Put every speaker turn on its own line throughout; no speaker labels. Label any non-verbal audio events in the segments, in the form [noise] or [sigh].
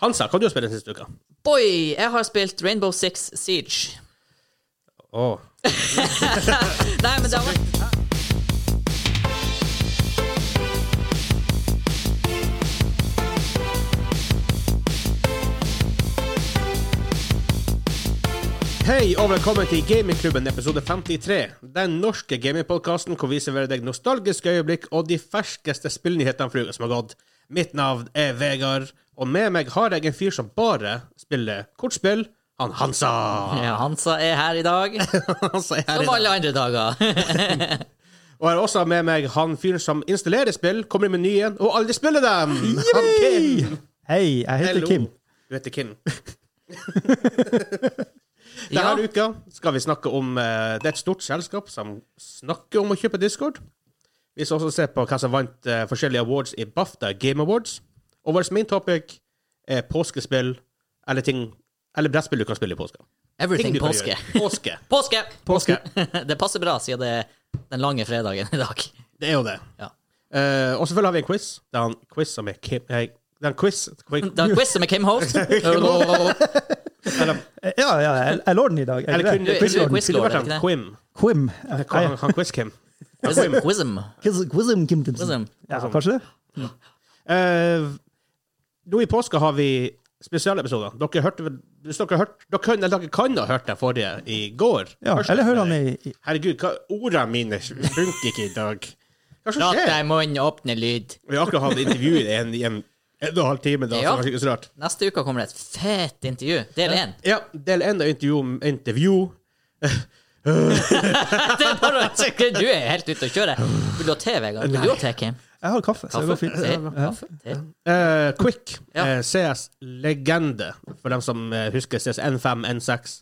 Hansa, hva har du spilt den siste uka?
Boy, jeg har spilt Rainbow Six Siege.
Åh,
Nei, men det var
Hei og velkommen til Gamingklubben episode 53. Den norske gamingpodkasten hvor vi serverer deg nostalgiske øyeblikk og de ferskeste spillnyhetene for uka som har gått. Mitt navn er Vegard, og med meg har jeg en fyr som bare spiller kortspill. Han Hansa. [laughs]
ja, Hansa er her i dag,
Hansa er her i
som
dag.
alle andre dager.
Og jeg har også med meg han fyren som installerer spill, kommer med nye og aldri spiller dem. Han Kim.
Hei, jeg heter
Hello.
Kim.
Du heter
[laughs]
Kim.
ja,
Denne uka skal vi snakke om eh, Det er et stort selskap som snakker om å kjøpe Discord. Vi skal også se på hva som vant eh, forskjellige awards i BAFTA Game Awards. Og vårt main topic er påskespill eller ting Eller brettspill du kan spille i påska. Ting
everything
du kan
påske.
gjøre. Påske.
Påske!
Påske.
[laughs] Det passer bra, siden det er den lange fredagen [laughs] i dag.
Det er jo det.
Ja.
Eh, og selvfølgelig har vi en quiz. Det er en quiz som er Kim eh, Det er en
[laughs]
quiz quick-
Det er en quiz som er Kim [laughs] Host.
Eller,
Eh, Ja, ja, jeg jeg lår den i dag. Jeg
eller
gjør
kun,
det.
du-
quiz,
du
kunne
er
det
quizlord,
vært
er ikke
en
det?
Quim.
Quim. Ja,
Han,
ja.
han quiz-Kim.
Quizm. Quizm.
Quiz- Quizim Kim Timsen.
Quizm.
Ja, kanskje det?
Eh, nå i påska har vi spesialepisoder. Dere hørte vel hvis dere, hørte, dere, kan, eller dere kan ha hørt den forrige i går.
Ja,
Første.
eller hører han i i-
Herregud, hva, ordene mine funker ikke i dag. Hva som
Prat
skjer?
deg munn, åpne lyd.
Vi har akkurat hatt intervju i en, i en, en og en halv time. Da, så
Ja.
det var ikke så rart.
Neste uke kommer det et fett intervju. Del én.
Ja, Del én av intervju, intervju.
Det er bare å sjekke. Du er helt ute å kjøre. Vil du ha te, Vegard? Vil du ha te, Kim?
Jeg har kaffe, så det går
Kaffe?
fint.
Te? Kaffe? Te?
Eh, Quick,
Ja.
eh, CS-legende, for dem som eh, husker CS-N5, N6.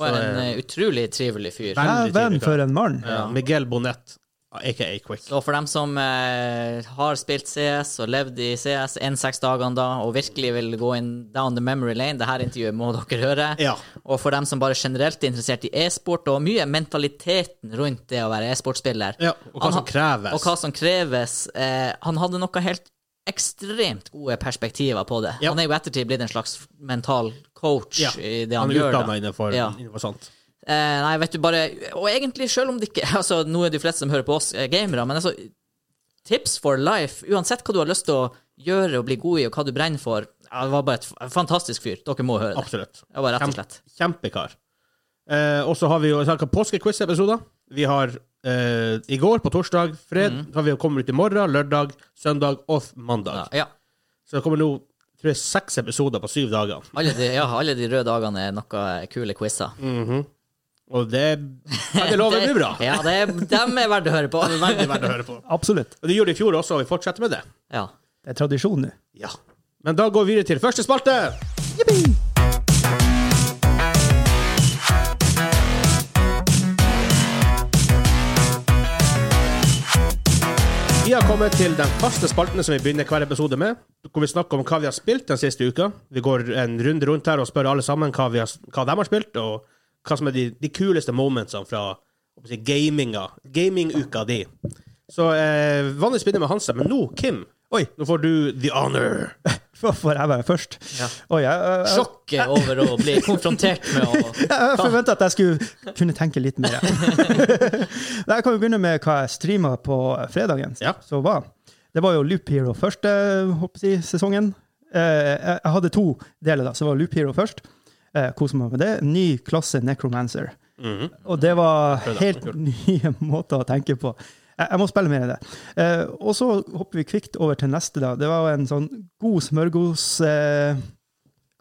Og er en eh, utrolig trivelig fyr.
Jeg er venn
trivelig
for
kar.
en mann.
Ja. Eh, Miguel Bonnet, aka Quick.
Så for dem som eh, har spilt CS og levd i CS en seks dagene da, og virkelig vil gå inn down the memory lane, det her intervjuet må dere høre.
Ja.
Og for dem som bare generelt er interessert i e-sport, og mye mentaliteten rundt det å være e-sportspiller,
Ja, og hva
Han
som
har-
kreves.
og hva som kreves eh, Han hadde noe helt ekstremt gode perspektiver på det.
Ja.
Han er jo i ettertid blitt en slags mental coach
Ja,
i det han,
han er
gjør. da.
utdanna innenfor,
Ja.
innenfor sånt.
Eh, nei, vet du, bare Og egentlig, selv om det ikke [laughs] Altså, nå er de fleste som hører på oss, eh, gamere, men altså Tips for life, uansett hva du har lyst til å gjøre og bli god i, og hva du brenner for ja, Det var bare et f- fantastisk fyr. Dere må høre det.
Absolutt.
Det var rett og
Kjempe-
slett.
Kjempekar. Eh, og så har vi jo snakka påskequiz-episoder. Vi har eh, i går, på torsdag, fred. Så har vi jo kommet ut i morgen, lørdag, søndag og f- mandag.
Ja, ja.
Så det kommer nå tror jeg, seks episoder på syv dager.
Alle, de, ja, alle de røde dagene er noe kule quizer.
Mm.
Og det kan jeg love blir bra.
[laughs] Ja, det, er- dem er verdt å høre på.
Veldig verdt å høre på.
Absolutt.
Og Det gjorde det i fjor også, og vi fortsetter med det.
Ja.
Det er tradisjon nå.
Ja. Men da går vi videre til første spalte.
Yippee!
Vi har kommet til den faste spalten som vi begynner hver episode med, hvor vi snakker om hva vi har spilt den siste uka. Vi går en runde rundt her og spør alle sammen hva, vi har, hva de har spilt, og hva som er de, de kuleste momentsene fra hva skal jeg si, gaminga, gaminguka di. Så eh, vanligvis begynner jeg med Hansa, men nå, Kim,
Oi,
nå får du the honor.
får får jeg være først? Oi, jeg, jeg, jeg,
Sjokket over å bli konfrontert med å
jeg forventa at jeg skulle kunne tenke litt mer. [laughs] jeg kan jo begynne med hva jeg streama på fredagen.
Ja.
Så hva? Det var jo Loop Hero første håper jeg, å si, sesongen. Eh, jeg jeg hadde to deler, da, så det var Loop Hero først. Eh, Koser meg med det. Ny klasse Necromancer. Og det var
Prøv da.
helt [laughs] nye måter å tenke på. Jeg, jeg må spille mer i det. Eh, og så hopper vi kvikt over til neste. da. Det var en sånn god smørgos... Eh,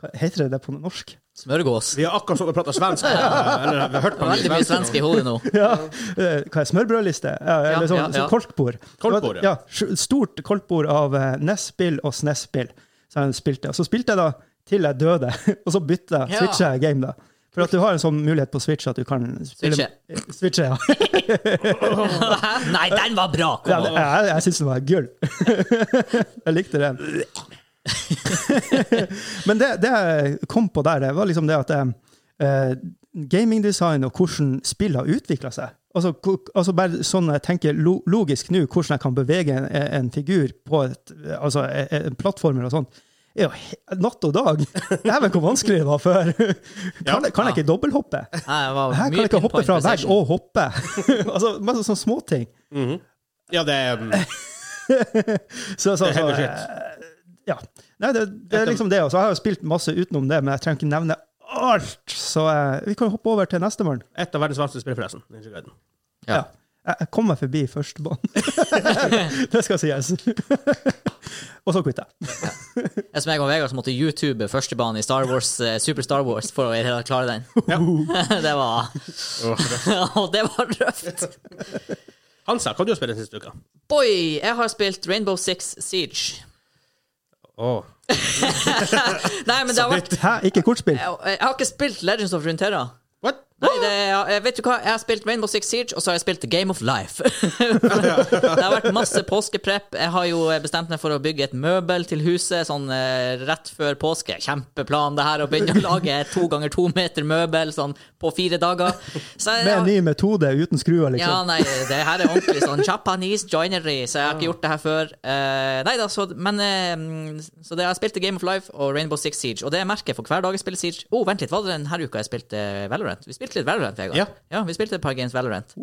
hva heter det det på norsk?
Smørgås.
Vi har akkurat stått og prata
[laughs]
svensk. Eller, vi har hørt på mye
Veldig mye svensk i hodet nå.
[laughs] ja, eh, hva er smørbrødliste? Ja, eller sånn,
ja, ja.
sånn kolkbord.
Kolkbord,
ja. s- Stort kolkbord av eh, NES-spill og SNES-spill. som jeg spilte. Og så spilte jeg da til jeg døde, [laughs] og så bytta
Ja.
jeg, switcha jeg game, da. For at du har en sånn mulighet på Switch at du kan spille Eh,
Switche.
Switche, ja.
[laughs] Nei, den var bra!
ja
Kom
det-
an.
jeg jeg syns den var gull. [laughs] jeg likte
[laughs]
den. Men det, det jeg kom på der, det var liksom det at eh, gamingdesign og hvordan spill har utvikla seg. Altså, ko- altså bare sånn jeg tenker lo- logisk nå, hvordan jeg kan bevege en, en figur på et, altså, en, en e-, plattformer og sånt, er jo he- natt og dag. [laughs] Dæven, hvor vanskelig det var før. Kan, jeg- kan jeg ikke dobbelthoppe?
Jeg var
Her
mye
kan jeg ikke hoppe
pinpoint
fra vegg
precision.
og hoppe. [laughs] altså, Masse sånne småting.
Ja, det er mm,
Så, så,
Det er helt
så, eh, ja. Nei, det, det er liksom det. Også. Jeg har jo spilt masse utenom det, men jeg trenger ikke nevne alt. Så eh, vi kan hoppe over til nestemann.
et av verdens vanskeligste spill, forresten. Ninja Gaiden.
Ja.
Ja. Jeg jeg kom meg forbi første
[laughs]
banen. det skal sies. [laughs] og så quitta jeg.
Jeg som jeg og Vegard som måtte YouTube førstebanen i Star Wars, eh, Super Star Wars for å i det hele tatt klare den. [laughs] det var [laughs] Og det var røft.
Hansa, kan du spille den siste uka?
Boy, jeg har spilt Rainbow Six Siege.
Åh.
Nei, men det har vært
Hæ, ikke kortspill?
Jeg jeg har ikke spilt Legends of Runeterra.
What?
Nei, det, jeg, jeg vet du hva? Jeg har spilt Rainbow Six Siege, og så har jeg spilt Game of Life. [laughs] det har vært masse påskeprepp. Jeg har jo bestemt meg for å bygge et møbel til huset sånn eh, rett før påske. Kjempeplan, det her. Å begynne å lage et to ganger to meter møbel sånn på fire dager. Så jeg,
Med en ny metode uten
ja,
skruer, liksom.
nei, det her er ordentlig sånn Japanese joinery, så jeg har ikke gjort det her før. Eh, nei da, så, men eh, Så det jeg har spilt Game of Life og Rainbow Six Siege, og det jeg merker for hver dag jeg spiller Siege Å, oh, vent litt, var det denne uka jeg spilte Valorant? Vi spilte litt Valorant, Vegard.
Ja.
vi spilte et par games Valorant.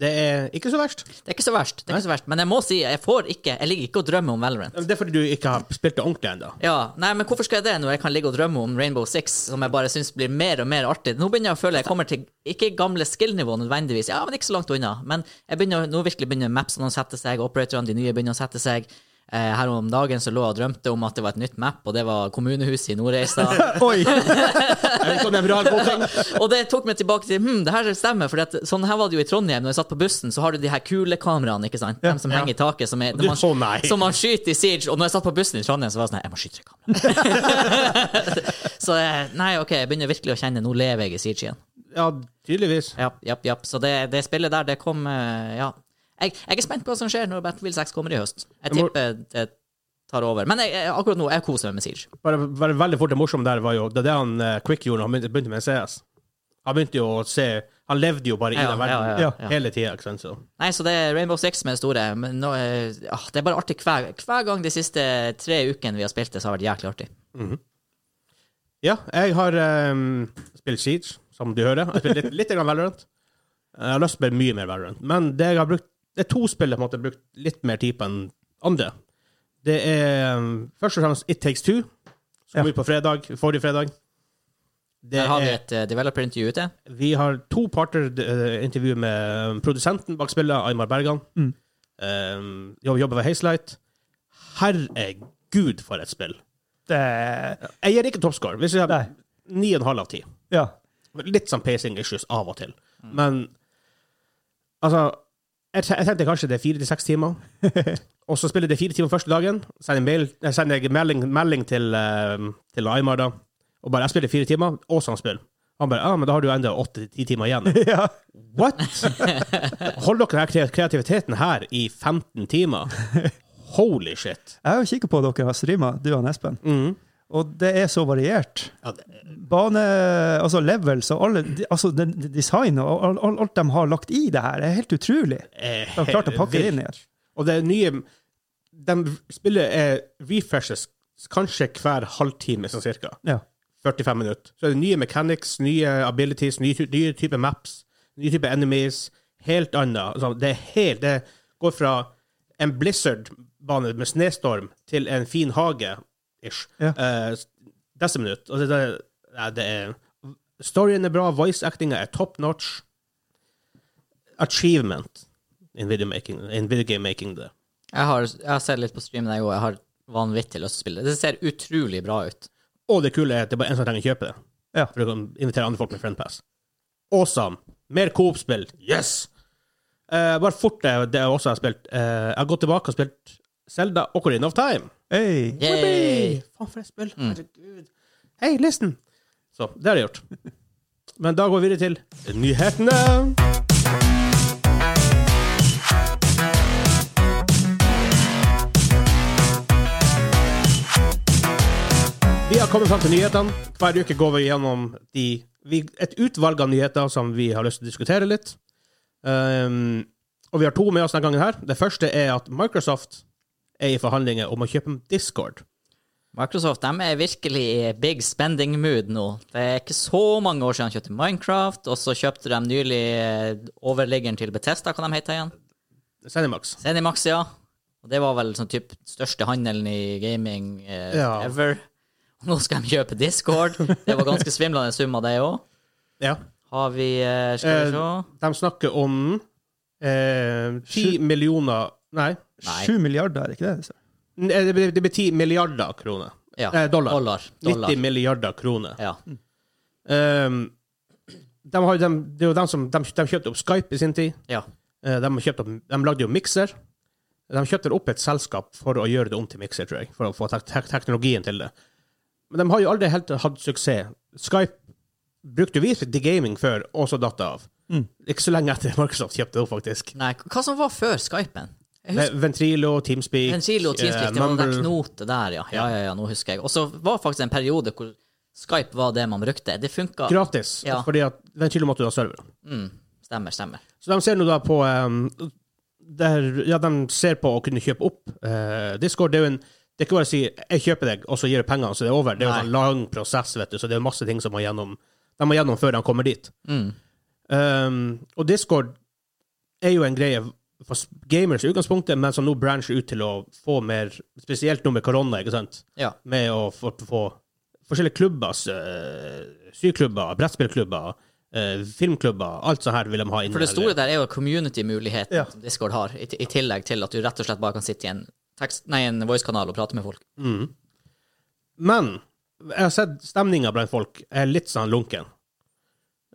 Det er ikke så verst.
Det er ikke så verst, det er ikke så verst, men jeg må si, jeg får ikke Jeg ligger ikke og drømmer om Valorant.
Det er fordi du ikke har spilt det ordentlig ennå.
Ja, nei, men hvorfor skal jeg det når jeg kan ligge og drømme om Rainbow Six, som jeg bare syns blir mer og mer artig? Nå begynner jeg å føle jeg kommer til ikke gamle skill-nivå nødvendigvis, ja, men ikke så langt unna. Men jeg begynner, nå virkelig begynner mapsene å sette seg, operatorene de nye begynner å sette seg. Eh, her om dagen så lå jeg og drømte om at det var et nytt map, og det var kommunehuset i Nordreisa.
Oi!
Jeg vet ikke om det er en bra eller god ting.
og det tok meg tilbake til hm, det her stemmer, for sånn her var det jo i Trondheim. Når jeg satt på bussen, så har du de her kulekameraene, ikke sant? De som henger i taket, som, er,
Du-
man,
[laughs] å nei.
som man skyter i Siege. Og når jeg satt på bussen i Trondheim, så var jeg sånn Jeg må skyte i kamera. [laughs] så eh, nei, OK, jeg begynner virkelig å kjenne Nå lever jeg i Siege igjen.
Ja, tydeligvis.
Ja, ja, ja. Så det, det spillet der, det kom eh, Ja. Jeg, jeg er spent på hva som skjer når Battlefield 6 kommer i høst. Jeg
Jeg må-
tipper det tar over. Men jeg, jeg, akkurat nå, jeg koser meg med Siege.
Bare, bare veldig fort det morsomme der var jo Det er det han eh, Quick gjorde da han begynte- begynte med CS. Han begynte jo å se Han levde jo bare i
Ja,
den verden
ja, ja, ja.
hele tida, ikke sant. Så.
Nei, så det er Rainbow Six med det store. Men nå, eh, ah, det er bare artig hver, hver gang de siste tre ukene vi har spilt det, så har det vært jæklig artig.
Ja, jeg har ehm, spilt Siege, som du hører. Jeg har spilt litt, litt grann Valorant. Jeg har lyst til å spille mye mer Valorant, men det jeg har brukt Det er to spill jeg på en måte har brukt litt mer tid på enn andre. Det er ehm, først og fremst It Takes Two, som
Ja.
kom ut på fredag, forrige fredag. Det
Der har vi
er,
et eh, developer-intervju ute.
vi har to partnerintervju med eh, produsenten bak spillet, Aymar Bergan.
Mm.
Ehm, jobb- jobber ved Hazelight. Herregud, for et spill!
Det,
Jeg gir ikke toppscore. Hvis jeg
nei.
har ni og en halv av ti.
Ja.
Litt sånn pacing issues av og til. Men altså Jeg, te- jeg tenkte kanskje det er fire til seks
[laughs]
timer. Og så spiller det fire timer første dagen. Sender, mail, eh, sender jeg melding, melding til, eh, til Aymar da. Og bare 'Jeg spiller fire timer.' Og sånn spill. Han bare 'Ja, men da har du jo enda åtte til ti timer igjen'.
[laughs] ja.
What?!
[laughs]
Hold dere den her kre- kreativiteten her i 15 timer.
[laughs]
Holy shit.
Jeg har jo kikket på dere har streama, du og Espen,
Mm.
og det er så variert.
Ja, det,
Bane, altså levels og alle, de- altså den- de- design og all- all- alt de har lagt i det her, det er helt utrolig.
er
De har klart å pakke det inn i det.
Og det nye De spillet er refreshes kanskje hver halvtime, sånn cirka.
Ja.
45 minutter. Så er det nye mechanics, nye abilities, nye, ty- nye typer maps, nye typer enemies. Helt annet. Altså, det er helt Det går fra en Blizzard-bane med snestorm til en fin hage, ish.
Ja.
Eh, Disse minutter. Og det, det, nei, det er Storyen er bra, voice-actinga er top notch. Achievement in video, making, in video game making det.
Jeg har, jeg har sett litt på streamen, jeg òg. Jeg har vanvittig lyst til å spille det. Det ser utrolig bra ut.
Og det kule er at det er bare en som trenger å kjøpe det.
Ja.
For du kan invitere andre folk med friendpass. Awesome! Mer Coop-spill. Yes! Eh, bare fort det, det jeg også har spilt. Eh, jeg har gått tilbake og spilt Zelda og Corin of Time.
Hey.
Yay!
Whoopee! Faen, for et spill. Herregud. Hei, listen! Mm. Så, det har jeg gjort. [laughs] Men da går vi videre til nyhetene. Vi har kommet fram til nyhetene. Hver uke går vi gjennom de, vi, et utvalg av nyheter som vi har lyst til å diskutere litt. Ehm, og vi har to med oss denne gangen. her. Det første er at Microsoft er i forhandlinger om å kjøpe Discord.
Microsoft de er virkelig i big spending mood nå. Det er ikke så mange år siden de kjøpte Minecraft, og så kjøpte de nylig eh, overliggeren til Betesta, hva de heter igjen?
Zenimax.
Zenimax, ja. Og det var vel sånn typ største handelen i gaming eh,
Ja.
ever. Og nå skal de kjøpe Discord. Det var ganske svimlende sum av det òg.
Ja.
Har vi eh, Skal vi se
De snakker om eh, 10 millioner Nei,
Nei.
Sju milliarder, er det altså? ikke det? Så.
Nei, det blir, det blir 10 milliarder kroner.
Ja.
Eh, dollar.
Dollar.
90 milliarder kroner.
Ja.
Ehm, de har, jo dem- det er jo dem som, de, de kjøpte opp Skype i sin tid.
ja.
Eh, De, kjøpte opp, de lagde jo Mixer. De kjøpte opp et selskap for å gjøre det om til Mixer, tror jeg. For å få tek tek teknologien til det. Men de har jo aldri helt hatt suksess. Skype brukte jo vi til gaming før, og så datt det av.
Mm.
Ikke så lenge etter Microsoft kjøpte det opp, faktisk.
Nei, hva som var før Skypen? Jeg husker
Ve- Ventrilo, Teamspeak,
En kilo
eh,
tidsskrift, det var det der knotet der, ja. Ja, ja, ja, nå husker jeg. Og så var faktisk en periode hvor Skype var det man brukte. Det funka.
Gratis,
Ja.
fordi at Ventrilo måtte jo ha server.
Mm, stemmer, stemmer.
Så de ser nå da på eh, der, Ja, de ser på å kunne kjøpe opp eh, Discord. Det er jo en det er ikke bare å si 'jeg kjøper deg', og så gir du pengene, så det er over. Det er jo en sånn lang prosess, vet du, så det er masse ting som må gjennom, de må gjennom før de kommer dit.
Mm.
Um, og Discord er jo en greie for s- gamers i utgangspunktet, men som nå brancher ut til å få mer Spesielt nå med korona, ikke sant?
Ja.
Med å få, få forskjellige klubber, eh, syklubber, brettspillklubber, eh, filmklubber, alt sånt her vil de ha inn.
For det
her.
store der er jo community-muligheten
Ja.
som Discord har, i, i tillegg til at du rett og slett bare kan sitte i en, tekst- nei, en voice-kanal og prate med folk.
Men jeg har sett stemninga blant folk er litt sånn lunken.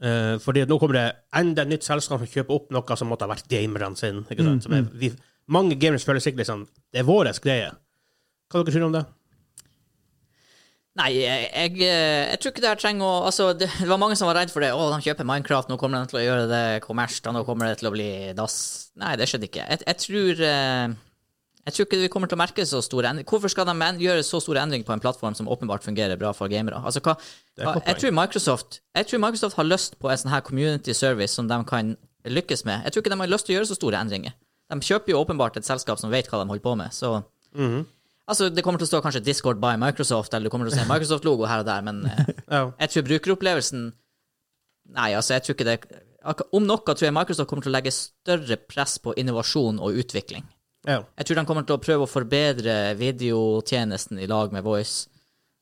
Eh, fordi at nå kommer det enda et nytt selskap som kjøper opp noe som måtte ha vært gamerne sin. Ikke
Mm,
sant? Som er, vi, mange gamers føler sikkert liksom Det er vår greie. Hva dere tror om det?
Nei, jeg, jeg, eh, jeg tror ikke det her trenger å Altså, det, det var mange som var redd for det. Å, de kjøper Minecraft, nå kommer de til å gjøre det kommersielt, nå kommer det til å bli dass. Nei, det skjedde ikke. Jeg, jeg tror eh, Jeg tror ikke vi kommer til å merke så store endringer. Hvorfor skal de en- gjøre så store endringer på en plattform som åpenbart fungerer bra for gamere? Altså, hva,
er et
hva
godt
Jeg tror Microsoft Jeg tror Microsoft har lyst på en sånn her community service som de kan lykkes med. Jeg tror ikke de har lyst til å gjøre så store endringer. De kjøper jo åpenbart et selskap som vet hva de holder på med, så Altså, Det kommer til å stå kanskje Discord by Microsoft, eller du kommer til å se Microsoft-logo her og der, men eh,
Ja.
jeg tror brukeropplevelsen Nei, altså, jeg tror ikke det Ak- Om noe tror jeg Microsoft kommer til å legge større press på innovasjon og utvikling.
ja.
Jeg tror de kommer til å prøve å forbedre videotjenesten i lag med Voice.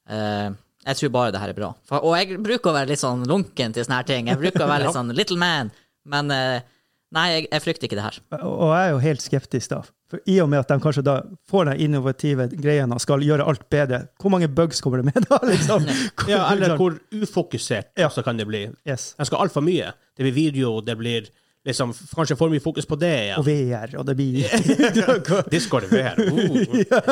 Eh, jeg tror bare det her er bra. For, og jeg bruker å være litt sånn lunken til sånne her ting. Jeg bruker å være litt sånn little man, men eh, nei, jeg, jeg frykter ikke det her.
Og jeg er jo helt skeptisk da. For I og med at de kanskje da får den innovative greien og skal gjøre alt bedre, hvor mange bugs kommer det med da? liksom? Hvor- [laughs]
ja, eller hvor ufokusert
Ja.
også kan det bli.
Yes.
De skal altfor mye. Det blir video, det blir liksom kanskje for mye fokus på det
Og
igjen.
VR, og det blir
[laughs] Discord er VR.
[laughs]
Uh.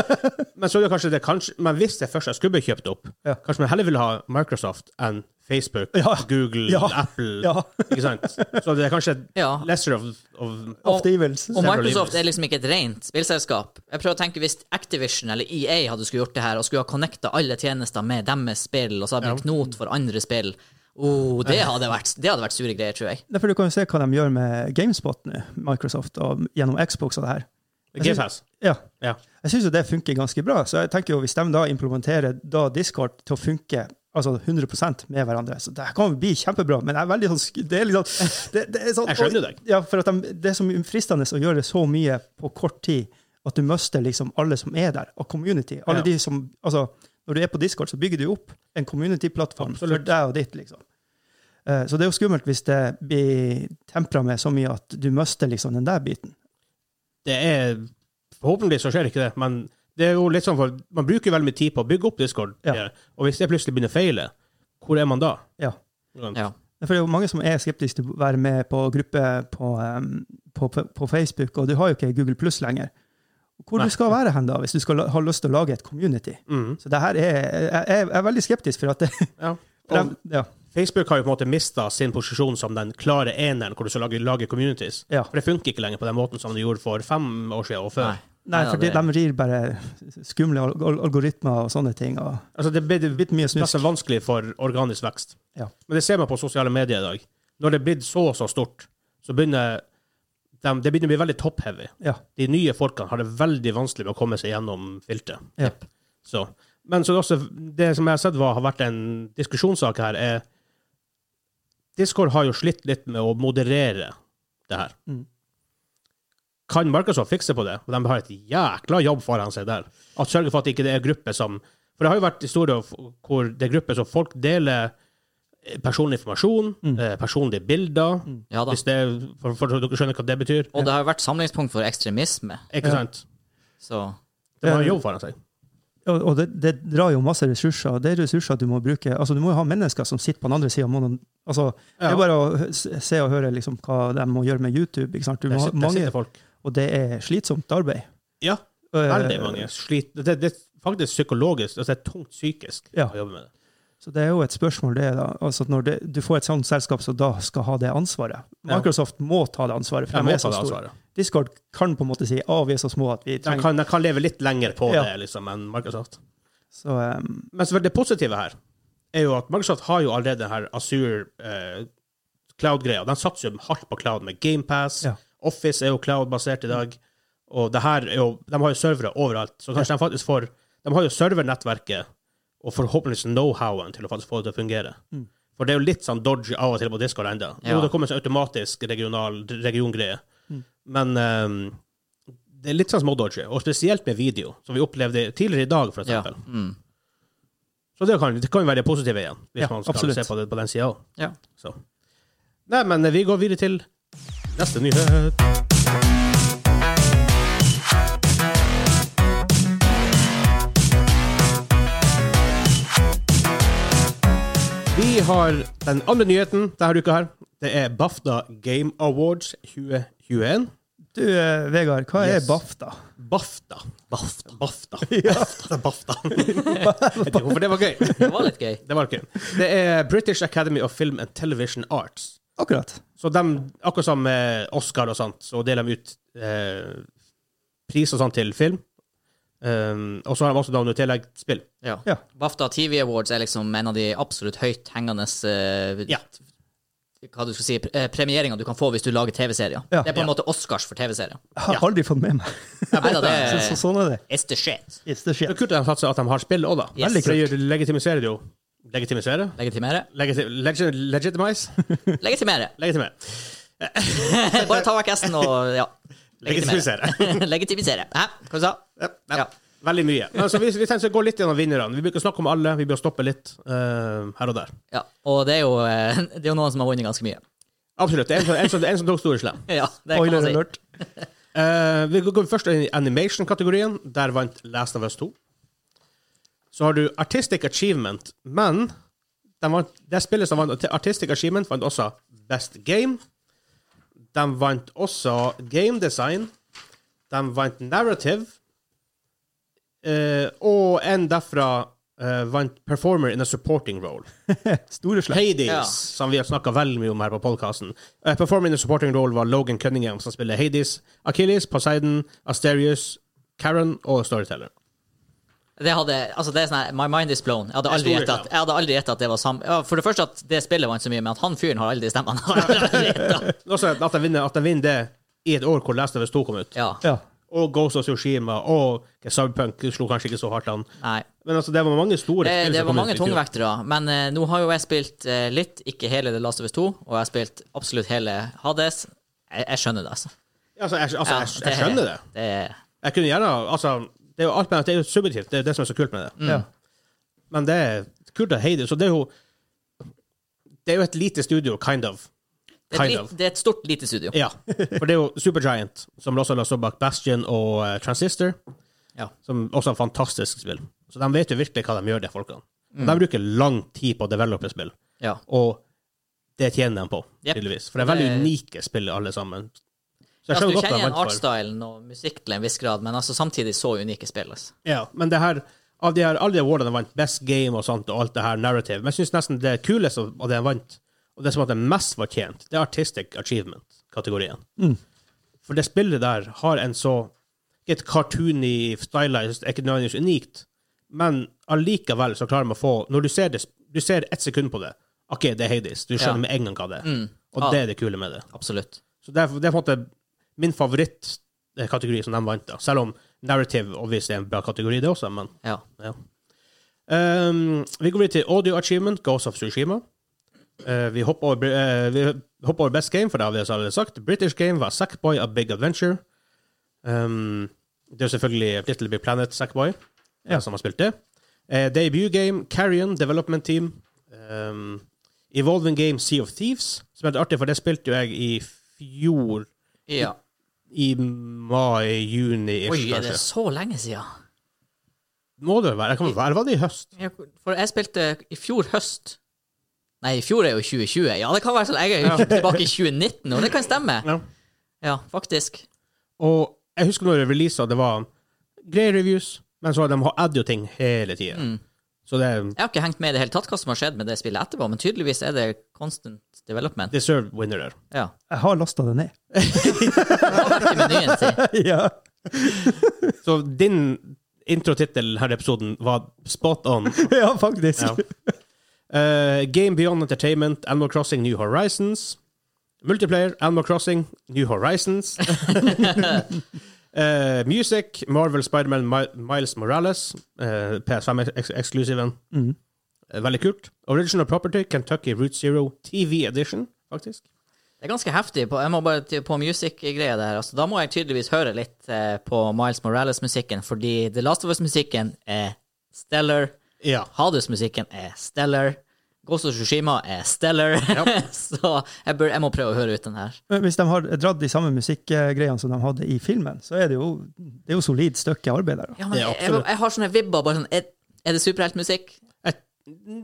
Men så er det kanskje det kanskje, men hvis det først skulle bli kjøpt opp,
Ja.
kanskje man heller vil ha Microsoft enn Facebook,
Ja.
Google,
Ja.
Apple.
Ja.
Ikke sant? Så det er kanskje
Ja,
lesser of, of
Of the evils.
Og
Several
Microsoft
Evils.
er liksom ikke et rent spillselskap. Jeg prøver å tenke Hvis Activision eller EA hadde skulle gjort det her, og skulle ha connecta alle tjenester med deres spill, og så hadde det blitt knot for andre spill oh, det, hadde vært, det hadde vært sure greier, tror jeg.
Derfor du kan jo se hva de gjør med GameSpot nå, Microsoft, og gjennom Xbox og det her.
Game Pass.
Ja.
Ja.
Jeg syns jo det funker ganske bra, så jeg tenker jo hvis de da implementerer da Discord til å funke altså 100 med hverandre, så det her kan jo bli kjempebra, men jeg er veldig sånn sk- Det er litt sånn, det, det er sånn
Jeg skjønner deg.
Ja, for at de, det er så mye fristende å gjøre så mye på kort tid at du mister liksom alle som er der, og community. Alle
Ja.
de som Altså, når du er på Discord, så bygger du jo opp en community-plattform for
Absolutt.
deg og ditt, liksom. Eh, Så det er jo skummelt hvis det blir tempra med så mye at du mister liksom den der biten.
Det er Forhåpentligvis så skjer ikke det, men det er jo litt sånn for man bruker veldig mye tid på å bygge opp Discord,
Ja.
og hvis det plutselig begynner å feile, hvor er man da?
Ja.
Ja.
For det er jo mange som er skeptiske til å være med på grupper på, em, på, på, på Facebook, og du har jo ikke Google Pluss lenger. Hvor
Nei.
du skal være hen da, hvis du skal la- ha lyst til å lage et community?
Mhm.
Så det her er, jeg, jeg er veldig skeptisk, for at det,
[laughs] Ja. Og
for dem- ja,
Facebook har jo på en måte mista sin posisjon som den klare eneren hvor du skal lage, lage communities.
ja.
For det funker ikke lenger på den måten som det gjorde for fem år siden og før.
Nei.
Nei,
Nei,
for de,
det-
de rir bare skumle al- al- algoritmer og sånne ting. Og,
Altså, det blir det
Litt mye snusk.
plass er vanskelig for organisk vekst.
Ja.
Men det ser man på sosiale medier i dag. Når det er blitt så og så stort, så begynner de, det begynner å bli veldig top-heavy.
ja.
De nye folkene har det veldig vanskelig med å komme seg gjennom filteret.
Ja.
Så Men så er det også, det som jeg har sett var, har vært en diskusjonssak her, er Discord har jo slitt litt med å moderere det her.
Mm.
Kan Microsoft fikse på det? Og de har et jækla jobb foran seg der. At Sørge for at det ikke er grupper som For det har jo vært historier f- hvor det er grupper som folk deler eh, personlig informasjon, eh, personlige bilder
Ja da.
hvis det, for, for dere skjønner hva det betyr.
Og det har jo vært samlingspunkt for ekstremisme,
Ikke sant?
så
De har en jobb foran seg.
Og, og det, det drar jo masse ressurser, og det er ressurser du må bruke. Altså, du må jo ha mennesker som sitter på den andre sida. Altså,
Ja.
Det er bare å hø- se og høre liksom, hva de må gjøre med YouTube. Ikke sant? Du
Der
må ha
sitter, der
mange,
sitter folk.
og det er slitsomt arbeid.
Ja,
Eh,
veldig mange. Slit, det, det er faktisk psykologisk, altså det er tungt psykisk
Ja.
å jobbe med det.
Så det er jo et spørsmål, det. da. Altså, når det, du får et sånt selskap som da skal ha det ansvaret.
Ja.
Microsoft må ta det ansvaret, for
Jeg
de
må
er
ta
så
det
store.
ansvaret.
Discord kan på en måte si at vi er så små at vi
De
trenger
kan, de kan leve litt lenger på
Ja.
det liksom, enn Microsoft.
Så, um,
Men selvfølgelig det positive her er jo at Microsoft har jo allerede denne Azure eh, cloud-greia. De satser jo hardt på cloud med GamePass.
Ja.
Office er jo cloud-basert i dag. Og det her er jo, de har jo servere overalt, så kanskje de faktisk får De har jo servernettverket og forhåpentligvis know-howen til å faktisk få det til å fungere.
Mm.
For det er jo litt sånn dodgy av og til på Discord ennå.
Ja.
Jo, det kommer en sånn automatisk regional regiongreie,
Mm.
men eh, det er litt sånn smådodgy, og spesielt med video, som vi opplevde tidligere i dag, for
ja.
eksempel.
Mm.
Så det kan, det kan jo være det positive igjen, hvis
Ja,
man skal
absolutt.
se på, det, på den sida òg.
ja.
Nei, men eh, vi går videre til neste nyhet. Vi har den andre nyheten denne uka her. Det er BAFTA Game Awards 2021.
du, eh, Vegard, hva
Yes.
er BAFTA?
BAFTA. BAFTA. BAFTA. BAFTA. BAFTA. [laughs] Jeg vet ikke hvorfor det var gøy.
Det var litt
[laughs]
gøy.
Det var gøy. Det er British Academy of Film and Television Arts.
Akkurat.
Så de, akkurat som eh, Oscar og sånt, så deler de ut eh, pris og sånt til film. Um, og så har de også da noe tillegg spill.
Ja.
Ja.
BAFTA TV Awards er liksom en av de absolutt høyt hengende eh,
Ja.
hva du skal si, eh, premieringer du kan få hvis du lager TV-serier.
Ja.
Det er på en
Ja.
måte Oscars for TV-serier.
Jeg har aldri fått med meg.
Neida, det
[laughs] Så, så,
er
sånn er det.
It's the shit.
It's the
Det
shit.
er kult at de satser at de har spill òg, da.
Yes. Veldig
For det legitimiserer det jo Legitimisere?
Legitimere.
Legiti legi legitimize?
[laughs] Legitimere.
Legitimere.
Bare ta vekk S-en og ja.
[laughs] Legitimisere.
[laughs] Legitimisere. Hæ? Hva du sa du?
Ja, ja.
Ja.
Veldig mye. Men altså, vi, vi tenkte å gå litt gjennom vinnerne. Vi bør ikke snakke om alle, vi bør stoppe litt eh, her og der.
Ja. Og det er, jo, eh, det er jo noen som har vunnet ganske mye.
Absolutt. Det er en som, en som, en som tok store slem.
Ja, det kan man
Spoiler
si.
alert.
Eh, vi går først inn i animation-kategorien. Der vant Last of Us 2. Så har du Artistic Achievement, men den vant, det spillet som vant Artistic Achievement, vant også Best Game. De vant også Game Design. De vant Narrative. Eh, og en derfra eh, vant Performer in a Supporting Role.
[laughs] Store slett.
Hades,
Ja.
som vi har snakka veldig mye om her på podkasten. Uh, performing in supporting role var Logan Cunningham, som spiller Hades, Achilles, Poseidon, Asterius, Karen og Storyteller.
Det hadde, altså det er sånn her, My mind is blown. Jeg hadde
Jeg sto
aldri
i
gjettet at,
det.
jeg hadde aldri gjettet at det var samme ja, For det første at det spillet vant så mye, men at han fyren har alle de [laughs] stemmene. har jeg aldri gjettet.
Også at de vinner, at de vinner det i et år hvor Last of Us 2 kom ut.
Ja.
Ja.
Og Ghost of Tsushima og Subpunk slo kanskje ikke så hardt an.
Nei.
Men altså, det var mange store
Det,
spill
det
som
var
kom
mange
ut i fjor.
tungvektere, men eh, nå har jo jeg spilt eh, litt, ikke hele The Last of Us 2, og jeg har spilt absolutt hele Hades. Jeg, jeg skjønner det, altså.
Altså, jeg, altså,
Ja,
jeg, jeg skjønner det.
Det er
Jeg kunne gjerne Altså, det er jo alt med at det er jo subjektivt. Det er jo det som er så kult med det.
Mm.
Ja.
Men det er kult å heie det. Så det er jo Det er jo et lite studio, kind of.
det er,
Kind
et,
of.
lit- det er et stort, lite studio. [laughs]
Ja, for det er jo Supergiant, som også la stå bak Bastion og eh, Transistor,
Ja.
som også er et fantastisk spill. Så de vet jo virkelig hva de gjør, de folkene.
Mm.
De bruker lang tid på å develope spill,
Ja.
og det tjener de på,
Yep.
tydeligvis. For det er veldig
Det-
unike spill, alle sammen. Så jeg
Altså,
skjønner godt
du
hva
kjenner
de
igjen
vant for.
artstylen og musikk til en viss grad, men altså samtidig så unike spill. Altså.
Ja, men det her, av de her, alle de awardene de vant, Best Game og sånt, og alt det her narrative, men jeg synes nesten det kuleste av det de vant, og det som hadde mest fortjent, det er Artistic Achievement-kategorien.
Mm.
For det spillet der har en så Ikke et cartoony, stylized, ikke nødvendigvis unikt, men allikevel så klarer man å få Når du ser, det, du ser ett sekund på det, OK, det er Hades. Du skjønner
Ja.
med en gang hva det er.
Mm.
Og
Ja.
det er det kule med det.
Absolutt.
Så det er, det er på en måte min eh, favorittkategori som de vant, da. Selv om narrative obviously er en bra kategori, det også, men
Ja.
ja. Um, vi går videre til Audio Achievement, Ghost of Tsushima. Eh, vi, hopper over, eh, vi hopper over Best Game, for det har vi allerede sagt. British Game var Sackboy A Big Adventure. Um, det er jo selvfølgelig Little Big Planet Sackboy
Ja.
eh, som har spilt det. Eh, debut Game, Carrion Development Team. Um, Evolving Game, Sea of Thieves. Som er litt artig, for det spilte jo jeg i fjor.
Ja.
I mai, juni
Oi, er det
kanskje.
så lenge siden?
Må det være? Jeg kan være var det i høst.
Ja, For jeg spilte i fjor høst. Nei, i fjor er jo 2020. Ja, det kan være sånn. Jeg er jo tilbake i 2019, og det kan stemme.
Ja.
Ja, faktisk.
Og jeg husker når det releasa, det var greie reviews, men så har de addet jo ting hele tida. Så det er
Jeg har ikke hengt med i det hele tatt hva som har skjedd med det spillet etterpå, men tydeligvis er det constant development.
deserved winner der.
Ja.
Jeg har lasta det ned. [laughs]
I menyen sin.
ja.
Så din introtittel her i episoden var spot on.
ja,
[laughs]
faktisk.
Ja. Eh, Game Beyond Entertainment, Animal Crossing New Horizons. Multiplayer, Animal Crossing New
[laughs]
Horizons. Eh, music, Marvel Spiderman Mi- Miles Morales, eh, PS5-eksklusiven.
Mm.
Eh, Veldig kult. Original Property, Kentucky Route Zero TV Edition, faktisk.
Det er ganske heftig. På, jeg må bare til- på music-greia der. Altså, da må jeg tydeligvis høre litt eh, på Miles Morales-musikken, fordi The Last of Us-musikken er stellar.
Ja.
Hades-musikken er stellar. Ghost of Tsushima er stellar. [laughs] så jeg, bør, jeg må prøve å høre ut den her.
Men hvis de har dratt de samme musikkgreiene som de hadde i filmen, så er det jo, det er jo solid stykke arbeid der. da.
Ja, men
Ja,
jeg, jeg,
absolutt.
jeg har sånne vibber. bare sånn, Er, er det superheltmusikk?
Et-